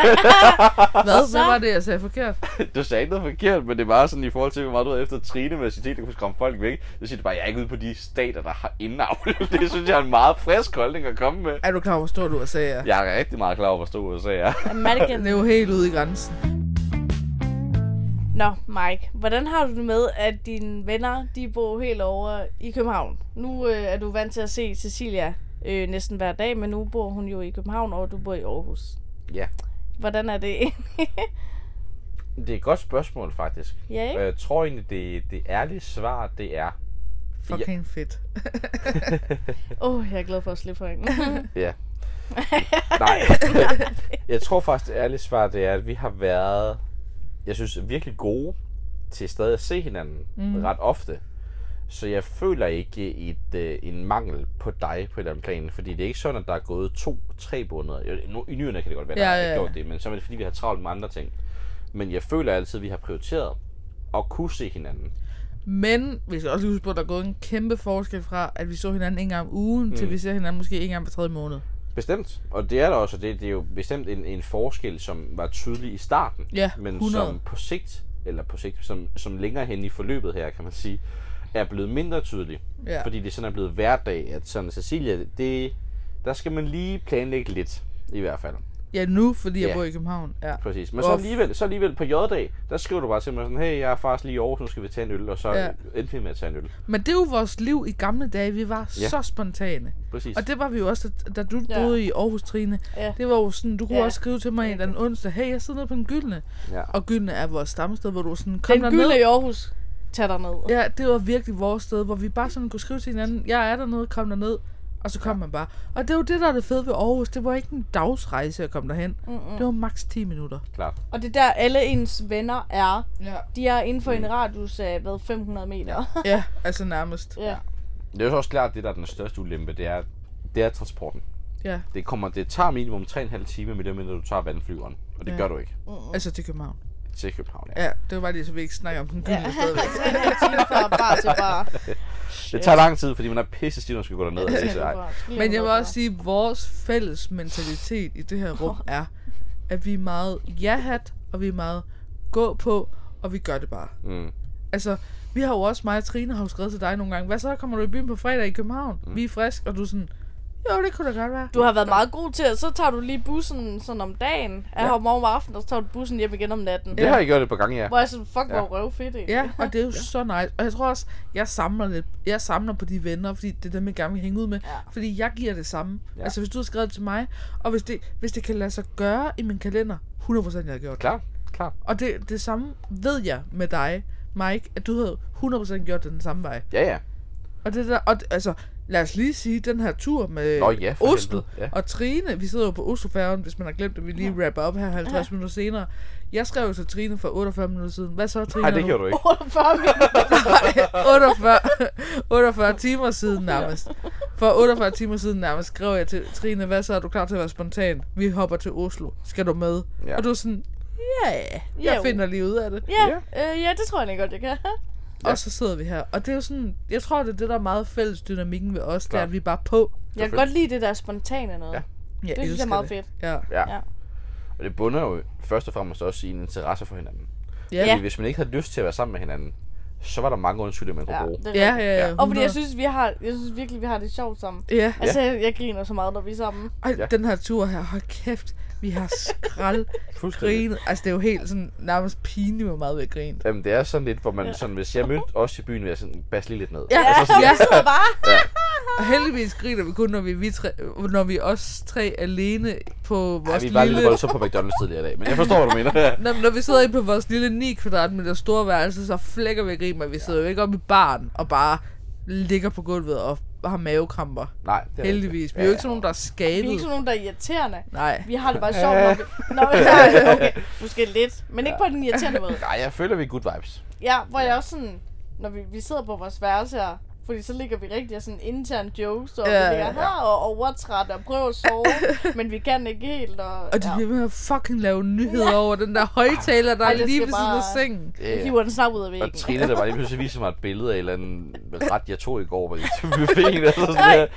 Speaker 1: Hvad?
Speaker 2: Så-
Speaker 1: Hvad var det, jeg sagde forkert?
Speaker 3: du sagde noget forkert, men det var sådan i forhold til, hvor meget du havde efter Trine med sit der kunne skræmme folk væk. Så siger du bare, jeg er ikke ude på de stater, der har indavl. det synes jeg er en meget frisk holdning at komme med.
Speaker 1: Er du klar over, hvor stor du USA er?
Speaker 3: Jeg er rigtig meget klar over, hvor stor USA er.
Speaker 1: Den
Speaker 2: American.
Speaker 1: er jo helt ude i grænsen.
Speaker 2: Nå, Mike, hvordan har du det med, at dine venner, de bor helt over i København? Nu øh, er du vant til at se Cecilia øh, næsten hver dag, men nu bor hun jo i København, og du bor i Aarhus.
Speaker 3: ja,
Speaker 2: Hvordan er det egentlig?
Speaker 3: det er et godt spørgsmål faktisk.
Speaker 2: ja,
Speaker 3: Og
Speaker 2: ikke?
Speaker 3: Jeg Øh, tror egentlig, det, det ærlige svar, det er,
Speaker 1: Fucking fedt.
Speaker 2: Åh, oh, jeg er glad for at slippe for hende.
Speaker 3: ja. Nej. jeg tror faktisk, det ærlige svar, det er, at vi har været, jeg synes, virkelig gode til stadig at se hinanden mm. ret ofte. Så jeg føler ikke et, øh, en mangel på dig på et eller andet plan, fordi det er ikke sådan, at der er gået to-tre måneder. Jo, nu- I nyerne kan det godt være, at
Speaker 1: Ja,
Speaker 3: der ja,
Speaker 1: ja, ja.
Speaker 3: har gjort det, men så er det fordi, vi har travlt med andre ting. Men jeg føler altid, at vi har prioriteret at kunne se hinanden.
Speaker 1: Men vi skal også lige huske på, at der er gået en kæmpe forskel fra, at vi så hinanden en gang om ugen, mm. til vi ser hinanden måske en gang hver tredje måned.
Speaker 3: Bestemt. Og det er der også, og det, det er jo bestemt en, en forskel, som var tydelig i starten,
Speaker 1: Ja,
Speaker 3: men
Speaker 1: 100.
Speaker 3: som på sigt, eller på sigt, som, som længere hen i forløbet her, kan man sige, er blevet mindre tydelig.
Speaker 1: Ja.
Speaker 3: Fordi det sådan er blevet hverdag, at sådan, Cecilia, det, der skal man lige planlægge lidt, i hvert fald.
Speaker 1: Ja, nu, fordi jeg
Speaker 3: Ja.
Speaker 1: bor i København. Ja.
Speaker 3: Præcis. Men så
Speaker 1: Uff.
Speaker 3: alligevel, så alligevel på J-dag, der skriver du bare til mig sådan, hey, jeg er faktisk lige i Aarhus, nu skal vi tage en øl, og så
Speaker 1: Ja.
Speaker 3: ja. endte vi med at tage en øl.
Speaker 1: Men det er jo vores liv i gamle dage. Vi var ja.
Speaker 3: Ja.
Speaker 1: så spontane.
Speaker 3: Præcis.
Speaker 1: Og det var vi jo også, da- da du
Speaker 2: Ja.
Speaker 1: boede i Aarhus, Trine.
Speaker 2: Ja.
Speaker 1: Det var jo sådan, du kunne
Speaker 2: Ja.
Speaker 1: også skrive til mig en eller anden onsdag, hey, jeg sidder nede på den gyldne.
Speaker 3: ja.
Speaker 1: Og gyldne er vores stamsted, hvor du var sådan, kom
Speaker 2: Den
Speaker 1: derned.
Speaker 2: gylde i Aarhus, tag dig ned.
Speaker 1: Ja, det var virkelig vores sted, hvor vi bare sådan kunne skrive til hinanden, jeg er dernede, kom derned. Og så kom ja. man bare. Og det er jo det, der er det fede ved Aarhus. Det var ikke en dagsrejse at komme derhen. Mm-mm. Det var maks 10 minutter.
Speaker 3: klart.
Speaker 2: Og det er der, alle ens venner er.
Speaker 1: Ja.
Speaker 2: De er inden for en radius af, hvad, 500 meter.
Speaker 1: ja, altså nærmest.
Speaker 2: ja.
Speaker 3: Det er jo så også klart, at det, der er den største ulempe, det er, det er transporten.
Speaker 1: Ja,
Speaker 3: Det, kommer, det tager minimum 3,5 timer, medmindre du tager vandflyveren. Og det
Speaker 1: Ja.
Speaker 3: ja. gør du ikke
Speaker 1: altså til København.
Speaker 3: til København. Ja.
Speaker 1: Ja, det var bare lige, så vi ikke snakker om den gyldne ja. stadigvæk.
Speaker 2: Fra bar til bar.
Speaker 3: Det tager lang tid, fordi man er pisse stiv, når man skal gå derned. Og det, så, ej.
Speaker 1: Men jeg vil også sige, at vores fælles mentalitet i det her rum er, at vi er meget ja-hat, og vi er meget gå på, og vi gør det bare.
Speaker 3: Mm.
Speaker 1: Altså, vi har jo også, mig og Trine har jo skrevet til dig nogle gange, hvad så, kommer du i byen på fredag i København? Mm. Vi er frisk, og du er sådan, Jo, det kunne da godt være.
Speaker 2: Du har været meget god til, at så tager du lige bussen sådan om dagen. Jeg
Speaker 3: Ja.
Speaker 2: ja. har om aftenen, og så tager du bussen hjem igen om natten.
Speaker 3: Det har jeg gjort et par gange, ja.
Speaker 2: Hvor jeg sådan, fuck, hvor
Speaker 3: Ja.
Speaker 2: ja. røvfedt egentlig.
Speaker 1: Ja, og det er jo så nice. Og jeg tror også, jeg samler, lidt. jeg samler på de venner, fordi det er dem, jeg gerne vil hænge ud med.
Speaker 2: Ja.
Speaker 1: Fordi jeg giver det samme.
Speaker 3: Ja.
Speaker 1: Ja. Altså, hvis du har skrevet det til mig, og hvis det, hvis det kan lade sig gøre i min kalender, 100% jeg har gjort det.
Speaker 3: Klar, klar.
Speaker 1: Og det, det samme ved jeg med dig, Mike, at du havde 100% gjort det den samme vej.
Speaker 3: Ja, ja.
Speaker 1: Og det der, og, d- altså, lad os lige sige, den her tur med
Speaker 3: Nå ja, for
Speaker 1: Oslo
Speaker 3: helvede, ja.
Speaker 1: og Trine, vi sidder jo på Oslofærgen, hvis man har glemt det, vi lige ja. rapper op her 50 ja. minutter senere. Jeg skrev jo til Trine for 48 minutter siden. Hvad så, Trine?
Speaker 3: Nej,
Speaker 1: Er
Speaker 3: det gjorde du ikke.
Speaker 2: 48 minutter.
Speaker 1: 48, 48 timer siden nærmest. For 48 timer siden nærmest skrev jeg til Trine, hvad så er du klar til at være spontan? Vi hopper til Oslo. Skal du med?
Speaker 3: Ja.
Speaker 1: Ja. Og du er sådan, ja, yeah, jeg
Speaker 2: Jo.
Speaker 1: finder lige ud af det.
Speaker 2: Ja, øh, ja, det tror jeg da godt, jeg kan.
Speaker 1: Ja. Og så sidder vi her. Og det er jo sådan, jeg tror, det er det, der er meget fælles dynamikken ved os, det er,
Speaker 3: Klart.
Speaker 1: at vi er bare på.
Speaker 2: Jeg kan godt lide det der spontane noget.
Speaker 3: Ja.
Speaker 1: Ja,
Speaker 2: Ja. Det synes jeg
Speaker 1: elsker
Speaker 2: er meget fedt.
Speaker 1: Ja.
Speaker 3: Ja.
Speaker 2: Ja.
Speaker 1: Oh.
Speaker 3: Og det bunder jo først og fremmest også i en interesse for hinanden.
Speaker 1: Ja.
Speaker 3: Fordi hvis man ikke havde lyst til at være sammen med hinanden, så var der mange undskyldninger, man kunne
Speaker 2: Ja,
Speaker 3: bruge.
Speaker 2: det er
Speaker 1: Ja,
Speaker 2: rigtigt.
Speaker 1: ja, ja.
Speaker 3: Ja.
Speaker 2: Og fordi jeg
Speaker 1: 100.
Speaker 2: synes, vi har, jeg synes virkelig, vi har det sjovt sammen.
Speaker 1: Ja,
Speaker 2: Altså, jeg, jeg griner så meget, når vi er sammen.
Speaker 1: og
Speaker 3: Ja.
Speaker 1: den her tur her, hold kæft, vi har skrald
Speaker 3: Fuldstændig.
Speaker 1: grinet. Altså, det er jo helt sådan nærmest pinligt, hvor meget vi har grinet.
Speaker 3: Jamen, det er sådan lidt, hvor man sådan, hvis jeg mødte os i byen, ville jeg sådan, bas lige lidt ned. Altså,
Speaker 1: Ja.
Speaker 2: Ja,
Speaker 1: sådan, ja.
Speaker 2: vi sidder bare.
Speaker 1: Og heldigvis griner vi kun, når vi, er vi tre, når vi er os tre alene på
Speaker 3: Ej,
Speaker 1: vores
Speaker 3: vi var
Speaker 1: lille...
Speaker 3: lidt voldsomt på McDonald's tidligere i dag, men jeg forstår, hvad du mener.
Speaker 1: Når, når vi sidder inde på vores lille 9 kvadratmeter store værelse, så flækker vi og griner, men vi sidder jo ikke oppe i barn og bare ligger på gulvet og har mavekramper.
Speaker 3: Nej, det er
Speaker 1: Heldigvis.
Speaker 3: rigtigt.
Speaker 1: Vi er jo ikke sådan nogen, der er
Speaker 2: Vi er ikke
Speaker 1: skadet.
Speaker 2: sådan nogen, der er irriterende.
Speaker 1: Nej.
Speaker 2: Vi har det bare sjovt, når vi... Nå, ja, okay. Måske lidt, men ikke på den irriterende måde.
Speaker 3: Nej, jeg føler, vi er good vibes.
Speaker 2: Ja, hvor jeg også sådan... Når vi, vi sidder på vores værelse her, fordi så ligger vi rigtig og sådan intern jokes, og
Speaker 1: Ja.
Speaker 2: vi ligger her og overtræt og prøver at sove, men vi kan ikke helt, og,
Speaker 1: Og de
Speaker 2: ja.
Speaker 1: bliver ved med at fucking lave nyheder over den der højtaler, der
Speaker 2: Ej,
Speaker 1: er
Speaker 2: det skal
Speaker 1: lige ved siden af
Speaker 2: bare-
Speaker 1: sengen.
Speaker 3: Det
Speaker 2: Vi
Speaker 3: er-
Speaker 2: hiver den snart ud af
Speaker 3: Og
Speaker 2: væggen.
Speaker 3: Trine, der bare lige pludselig viser mig et billede af en eller anden ret, jeg tog i går, hvor jeg til buffeten, altså sådan
Speaker 2: Nej,
Speaker 3: der.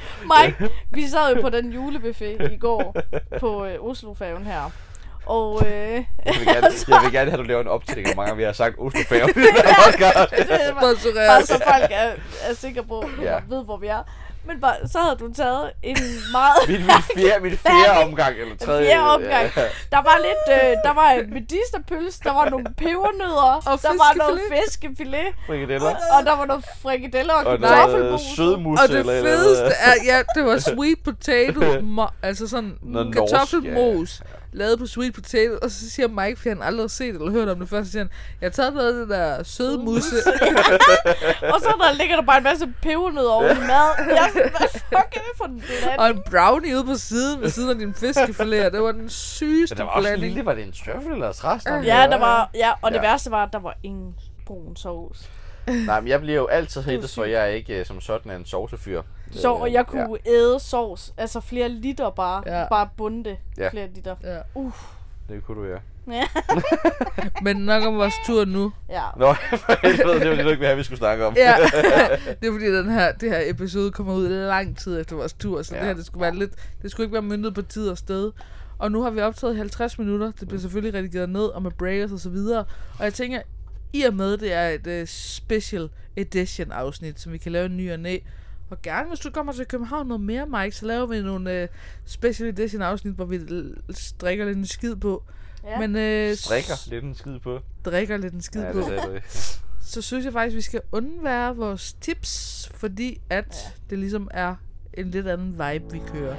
Speaker 2: Mike, vi sad jo på den julebuffet i går på øh, Oslofærgen her. Og øh,
Speaker 3: Jeg vil, gerne, jeg vil gerne have, at du laver en optælling, hvor mange gange vi har sagt Oslo Færge.
Speaker 2: det
Speaker 3: ja.
Speaker 2: er bare, bare
Speaker 1: Sponsoreret.
Speaker 2: så folk er, er sikre på,
Speaker 3: Ja.
Speaker 2: ja. ved hvor vi er. Men bare, så havde du taget en meget...
Speaker 3: Min, min, fjerde, min fjerde omgang, eller tredje.
Speaker 2: Fjerde omgang.
Speaker 3: Ja.
Speaker 2: Der var lidt, øh, der var en medisterpølse, der var nogle pebernødder,
Speaker 1: Og
Speaker 2: der var noget
Speaker 1: fiskefilet.
Speaker 2: fiskefilet,
Speaker 3: Frikadeller.
Speaker 2: og der var noget frikadeller og,
Speaker 3: Og øh, noget
Speaker 2: kartoffelmos.
Speaker 3: sødmus.
Speaker 1: Og det fedeste er, ja, det var sweet potato, mo- altså sådan
Speaker 3: Noget norsk,
Speaker 1: kartoffelmos, lavet på sweet potato, og så siger Mike, for han aldrig har set eller hørt om det før, så siger han, jeg har taget noget af det der søde musse,
Speaker 2: Og så der ligger der bare en masse pebernødder over i mad. Jeg er sådan, hvad fuck er det for en blanding?
Speaker 1: og en brownie ude på siden, ved siden af din fiskefilet, og det var den sygeste
Speaker 3: Men der var også en
Speaker 1: blanding.
Speaker 3: lille, var det en trøffel eller træs?
Speaker 2: Ja, der var, ja, og det
Speaker 3: Ja.
Speaker 2: værste var, at der var ingen brun sovs.
Speaker 3: Nej, men jeg bliver jo altid hættet, for jeg er ikke øh, som sådan en sovsefyr.
Speaker 2: Så og
Speaker 3: Øh,
Speaker 2: jeg kunne ja. æde sovs, altså flere liter bare,
Speaker 1: Ja.
Speaker 2: ja. bare bunde
Speaker 3: Ja.
Speaker 2: ja. flere liter.
Speaker 1: Ja.
Speaker 3: Ja, det kunne du, ja.
Speaker 2: Ja.
Speaker 1: Men nok om vores tur nu.
Speaker 2: ja.
Speaker 3: Nå, for helvede, det var det, du ikke ville have, vi skulle snakke om.
Speaker 1: Ja, det er fordi, den her, det her episode kommer ud lang tid efter vores tur, så ja.
Speaker 3: Ja.
Speaker 1: det her, det skulle, være lidt, det skulle ikke være myndet på tid og sted. Og nu har vi optaget 50 minutter, det
Speaker 3: Mm.
Speaker 1: bliver selvfølgelig redigeret ned, og med breakers og så videre. Og jeg tænker, i og med, det er et uh, special edition afsnit, som vi kan lave en ny og næ. Og gerne, hvis du kommer til København noget mere, Mike, så laver vi nogle uh, special edition afsnit, hvor vi l- strikker lidt en skid på.
Speaker 2: Ja.
Speaker 1: Men, uh,
Speaker 3: Strikker lidt en skid på.
Speaker 1: drikker lidt en skid
Speaker 3: Ja,
Speaker 1: på
Speaker 3: det sagde du ikke.
Speaker 1: så synes jeg faktisk, at vi skal undvære vores tips, fordi at ja. det ligesom er en lidt anden vibe, vi kører.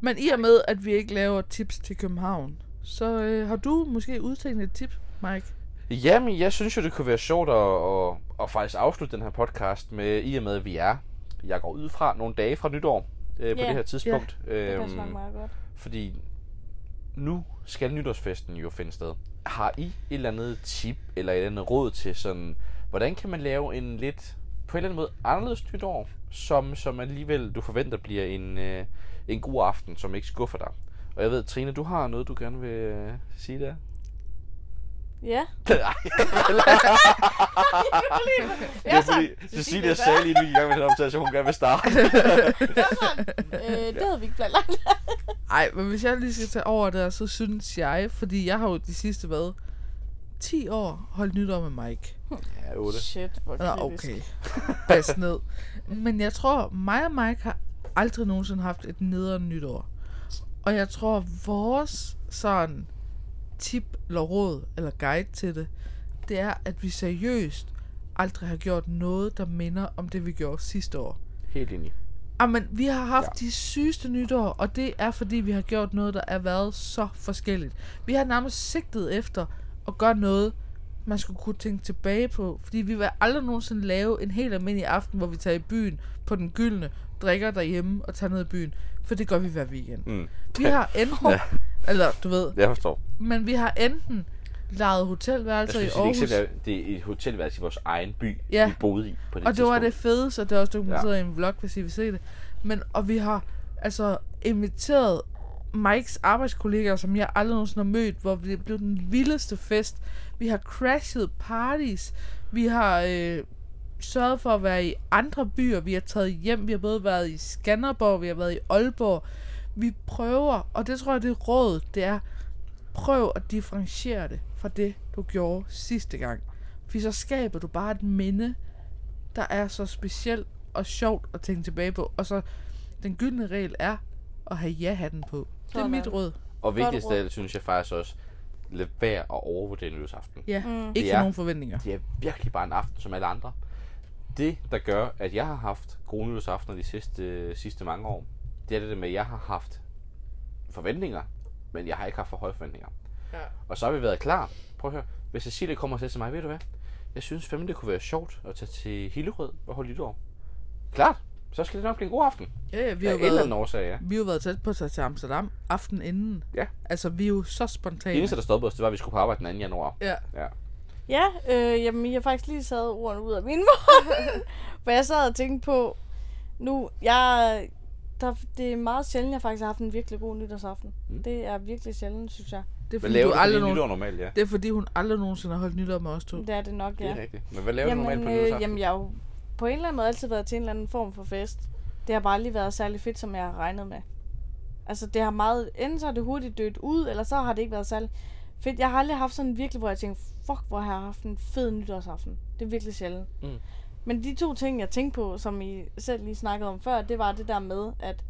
Speaker 1: Men i og med, at vi ikke laver tips til København, så øh, har du måske udtænkt et tip, Mike?
Speaker 3: Jamen, jeg synes jo, det kunne være sjovt at, at, at faktisk afslutte den her podcast med, i og med, at vi er, jeg går ud fra, nogle dage fra nytår øh, på
Speaker 2: Ja.
Speaker 3: det her tidspunkt.
Speaker 2: Det
Speaker 3: øhm,
Speaker 2: passer nok meget godt.
Speaker 3: fordi nu skal nytårsfesten jo finde sted. Har I et eller andet tip eller et eller andet råd til sådan, hvordan kan man lave en lidt, på en eller anden måde, anderledes nytår, som, som alligevel du forventer bliver en, øh, en god aften, som ikke skuffer dig? Og jeg ved, Trine, du har noget, du gerne vil øh, sige der?
Speaker 2: Ja.
Speaker 3: Nej, det er fordi, Cecilia sagde lige nu i gang med den optagelse, at hun gerne vil starte.
Speaker 2: Øh, det havde vi ikke planlagt.
Speaker 1: Ej, men hvis jeg lige skal tage over der, så synes jeg, fordi jeg har jo de sidste, hvad, 10 år holdt nytår med Mike.
Speaker 3: Ja, 8.
Speaker 2: Shit, hvor
Speaker 1: Nå,
Speaker 2: kritisk.
Speaker 1: okay. Pas ned. Men jeg tror, mig og Mike har aldrig nogensinde haft et nederen nytår. Og jeg tror, vores sådan tip eller råd eller guide til det, det er, at vi seriøst aldrig har gjort noget, der minder om det, vi gjorde sidste år.
Speaker 3: Helt enig.
Speaker 1: Jamen, vi har haft
Speaker 3: Ja.
Speaker 1: ja. de sygeste nytår, og det er fordi, vi har gjort noget, der er været så forskelligt. Vi har nærmest sigtet efter at gøre noget, man skulle kunne tænke tilbage på, fordi vi vil aldrig nogensinde lave en helt almindelig aften, hvor vi tager i byen på den gyldne, drikker derhjemme og tager ned i byen, for det gør vi hver weekend.
Speaker 3: Mm.
Speaker 1: Vi har enten, ja. eller du ved,
Speaker 3: Jeg forstår.
Speaker 1: men vi har enten lejet hotelværelser i
Speaker 3: Jeg skulle
Speaker 1: Aarhus,
Speaker 3: sige, det, er, det er et hotelværelse i vores egen by,
Speaker 1: Ja.
Speaker 3: vi boede i på det
Speaker 1: Og det var det
Speaker 3: tidspunkt.
Speaker 1: fedeste, og det er også dokumenteret ja. i en vlog, hvis I vil se det. Men, og vi har altså inviteret Mikes arbejdskollegaer, som jeg aldrig nogensinde har mødt, hvor det blev den vildeste fest. Vi har crashet parties. Vi har øh, sørget for at være i andre byer. Vi har taget hjem. Vi har både været i Skanderborg, vi har været i Aalborg. Vi prøver, og det tror jeg, det er rådet, det er, prøv at differentiere det fra det, du gjorde sidste gang. For så skaber du bare et minde, der er så specielt og sjovt at tænke tilbage på. Og så den gyldne regel er at have ja-hatten på. Det er
Speaker 2: Sådan.
Speaker 1: mit råd.
Speaker 3: Og vigtigst af
Speaker 2: råd.
Speaker 3: alt, synes jeg faktisk også, lad være at overvurdere nytårsaften.
Speaker 1: Ja, mm. ikke
Speaker 3: Ja.
Speaker 1: ja. nogen forventninger.
Speaker 3: Det er virkelig bare en aften som alle andre. Det, der gør, at jeg har haft gode nytårsaftener de sidste, sidste mange år, det er det der med, at jeg har haft forventninger, men jeg har ikke haft for høje forventninger.
Speaker 1: Ja.
Speaker 3: Og så har vi været klar. Prøv at høre. Hvis Cecilie kommer og siger til mig, ved du hvad? Jeg synes fandme, det kunne være sjovt at tage til Hillerød og holde nytår. Klart. Så skal det nok blive en god aften.
Speaker 1: Ja, ja, vi
Speaker 3: Af
Speaker 1: har
Speaker 3: en
Speaker 1: jo
Speaker 3: eller anden
Speaker 1: været,
Speaker 3: årsag, ja.
Speaker 1: vi har jo været tæt på at tage til Amsterdam aften inden.
Speaker 3: Ja.
Speaker 1: Altså, vi er jo så
Speaker 3: Det
Speaker 1: spontane.
Speaker 3: eneste, der stoppede os, det var, at vi skulle på arbejde den 2. januar.
Speaker 1: Ja.
Speaker 3: Ja.
Speaker 2: Ja, øh, jamen, I har faktisk lige sad ordene ud af min mund. For jeg sad og tænkte på, nu, jeg, der, det er meget sjældent, jeg faktisk har haft en virkelig god nytårsaften. Mm. Det er virkelig sjældent, synes jeg.
Speaker 1: Det er
Speaker 3: Hvad
Speaker 1: fordi,
Speaker 3: laver
Speaker 1: du
Speaker 3: du
Speaker 1: aldrig
Speaker 3: på
Speaker 1: nogen,
Speaker 3: din nytår normalt, ja?
Speaker 1: det er fordi, hun aldrig nogensinde har holdt nytår med os to.
Speaker 2: Det er det nok,
Speaker 3: Det
Speaker 2: Mm. ja.
Speaker 3: er rigtigt. Men hvad laver du normalt
Speaker 2: Jamen,
Speaker 3: på
Speaker 2: øh,
Speaker 3: nytårsaften?
Speaker 2: jamen, jeg har jo på en eller anden måde altid været til en eller anden form for fest. Det har bare aldrig været særlig fedt, som jeg har regnet med. Altså, det har meget... Enten så er det hurtigt dødt ud, eller så har det ikke været særlig fedt. Jeg har aldrig haft sådan virkelig, hvor jeg tænkte, fuck, hvor har jeg haft en fed nytårsaften. Det er virkelig sjældent.
Speaker 3: Mm.
Speaker 2: Men de to ting, jeg tænkte på, som I selv lige snakkede om før, det var det der med, at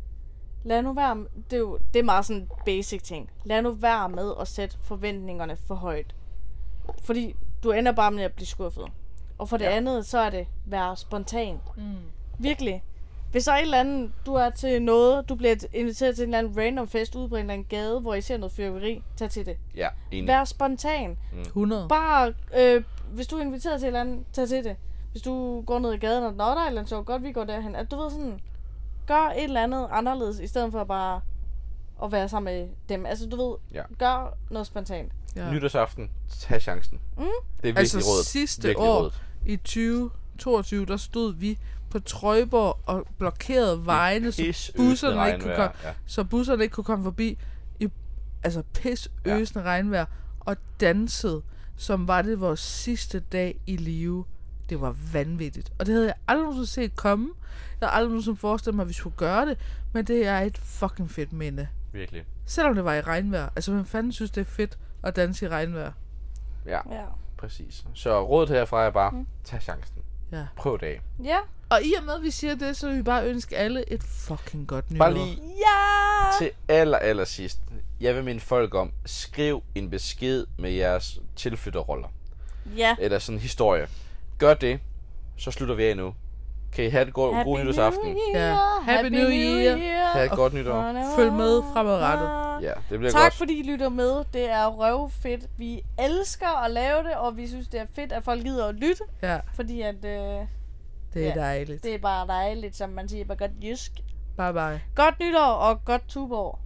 Speaker 2: lad nu være... Det er jo det er meget sådan basic ting. Lad nu være med at sætte forventningerne for højt. Fordi du ender bare med at blive skuffet. Og for det
Speaker 3: Ja.
Speaker 2: ja. andet, så er det være spontan. Mm. Virkelig. Hvis der er et eller andet, du er til noget, du bliver inviteret til en eller anden random fest ude på en eller anden gade, hvor I ser noget fyrværkeri, tag til det.
Speaker 3: Ja, enig.
Speaker 2: Vær spontan.
Speaker 1: 100.
Speaker 2: Bare, øh, hvis du er inviteret til et eller andet, tag til det. Hvis du går ned i gaden, og nå, der er et eller andet sjovt, godt vi går derhen. At du ved sådan, gør et eller andet anderledes, i stedet for bare at være sammen med dem. Altså du ved,
Speaker 3: Ja.
Speaker 2: gør noget spontant.
Speaker 1: Ja.
Speaker 3: Nytårsaften, tag chancen. Mm. Det er virkelig
Speaker 1: Altså
Speaker 3: rådet.
Speaker 1: sidste
Speaker 3: virkelig
Speaker 1: år,
Speaker 3: Rådet.
Speaker 1: I 2022, der stod vi på Trøjborg og blokerede vejene, så
Speaker 3: pisseøsende
Speaker 1: busserne, ikke kunne
Speaker 3: regnvejr,
Speaker 1: komme,
Speaker 3: ja.
Speaker 1: så busserne ikke kunne komme forbi. I, altså pisøsende ja. regnvejr. Og dansede, som var det vores sidste dag i live. Det var vanvittigt. Og det havde jeg aldrig nogensinde set komme. Jeg havde aldrig nogensinde forestillet mig, at vi skulle gøre det. Men det er et fucking fedt minde.
Speaker 3: Virkelig.
Speaker 1: Selvom det var i regnvejr. Altså, hvem fanden synes, det er fedt at danse i regnvejr?
Speaker 3: Ja,
Speaker 2: Ja.
Speaker 3: præcis. Så rådet herfra er bare, mm. tag chancen.
Speaker 1: Ja.
Speaker 3: Prøv det af.
Speaker 2: Ja.
Speaker 1: Og i og med, at vi siger det, så vil vi bare ønske alle et fucking godt nytår.
Speaker 3: Bare lige
Speaker 2: Ja!
Speaker 3: til aller, aller sidst. Jeg vil minde folk om, skriv en besked med jeres tilflytterroller.
Speaker 2: Ja.
Speaker 3: Eller sådan en historie. Gør det, så slutter vi af nu. Kan I have et godt, god nytårsaften?
Speaker 1: Ja. Happy New Year.
Speaker 3: Ha' et godt nytår.
Speaker 1: Følg med fremadrettet.
Speaker 3: Ja, det bliver
Speaker 2: Tak
Speaker 3: godt.
Speaker 2: fordi I lytter med. Det er røvfedt. Vi elsker at lave det, og vi synes, det er fedt, at folk gider at lytte.
Speaker 1: Ja,
Speaker 2: Fordi at, øh,
Speaker 1: det er
Speaker 2: Ja.
Speaker 1: dejligt.
Speaker 2: det er bare dejligt, som man siger på godt jysk.
Speaker 1: Bye bye.
Speaker 2: Godt nytår og godt tuborg.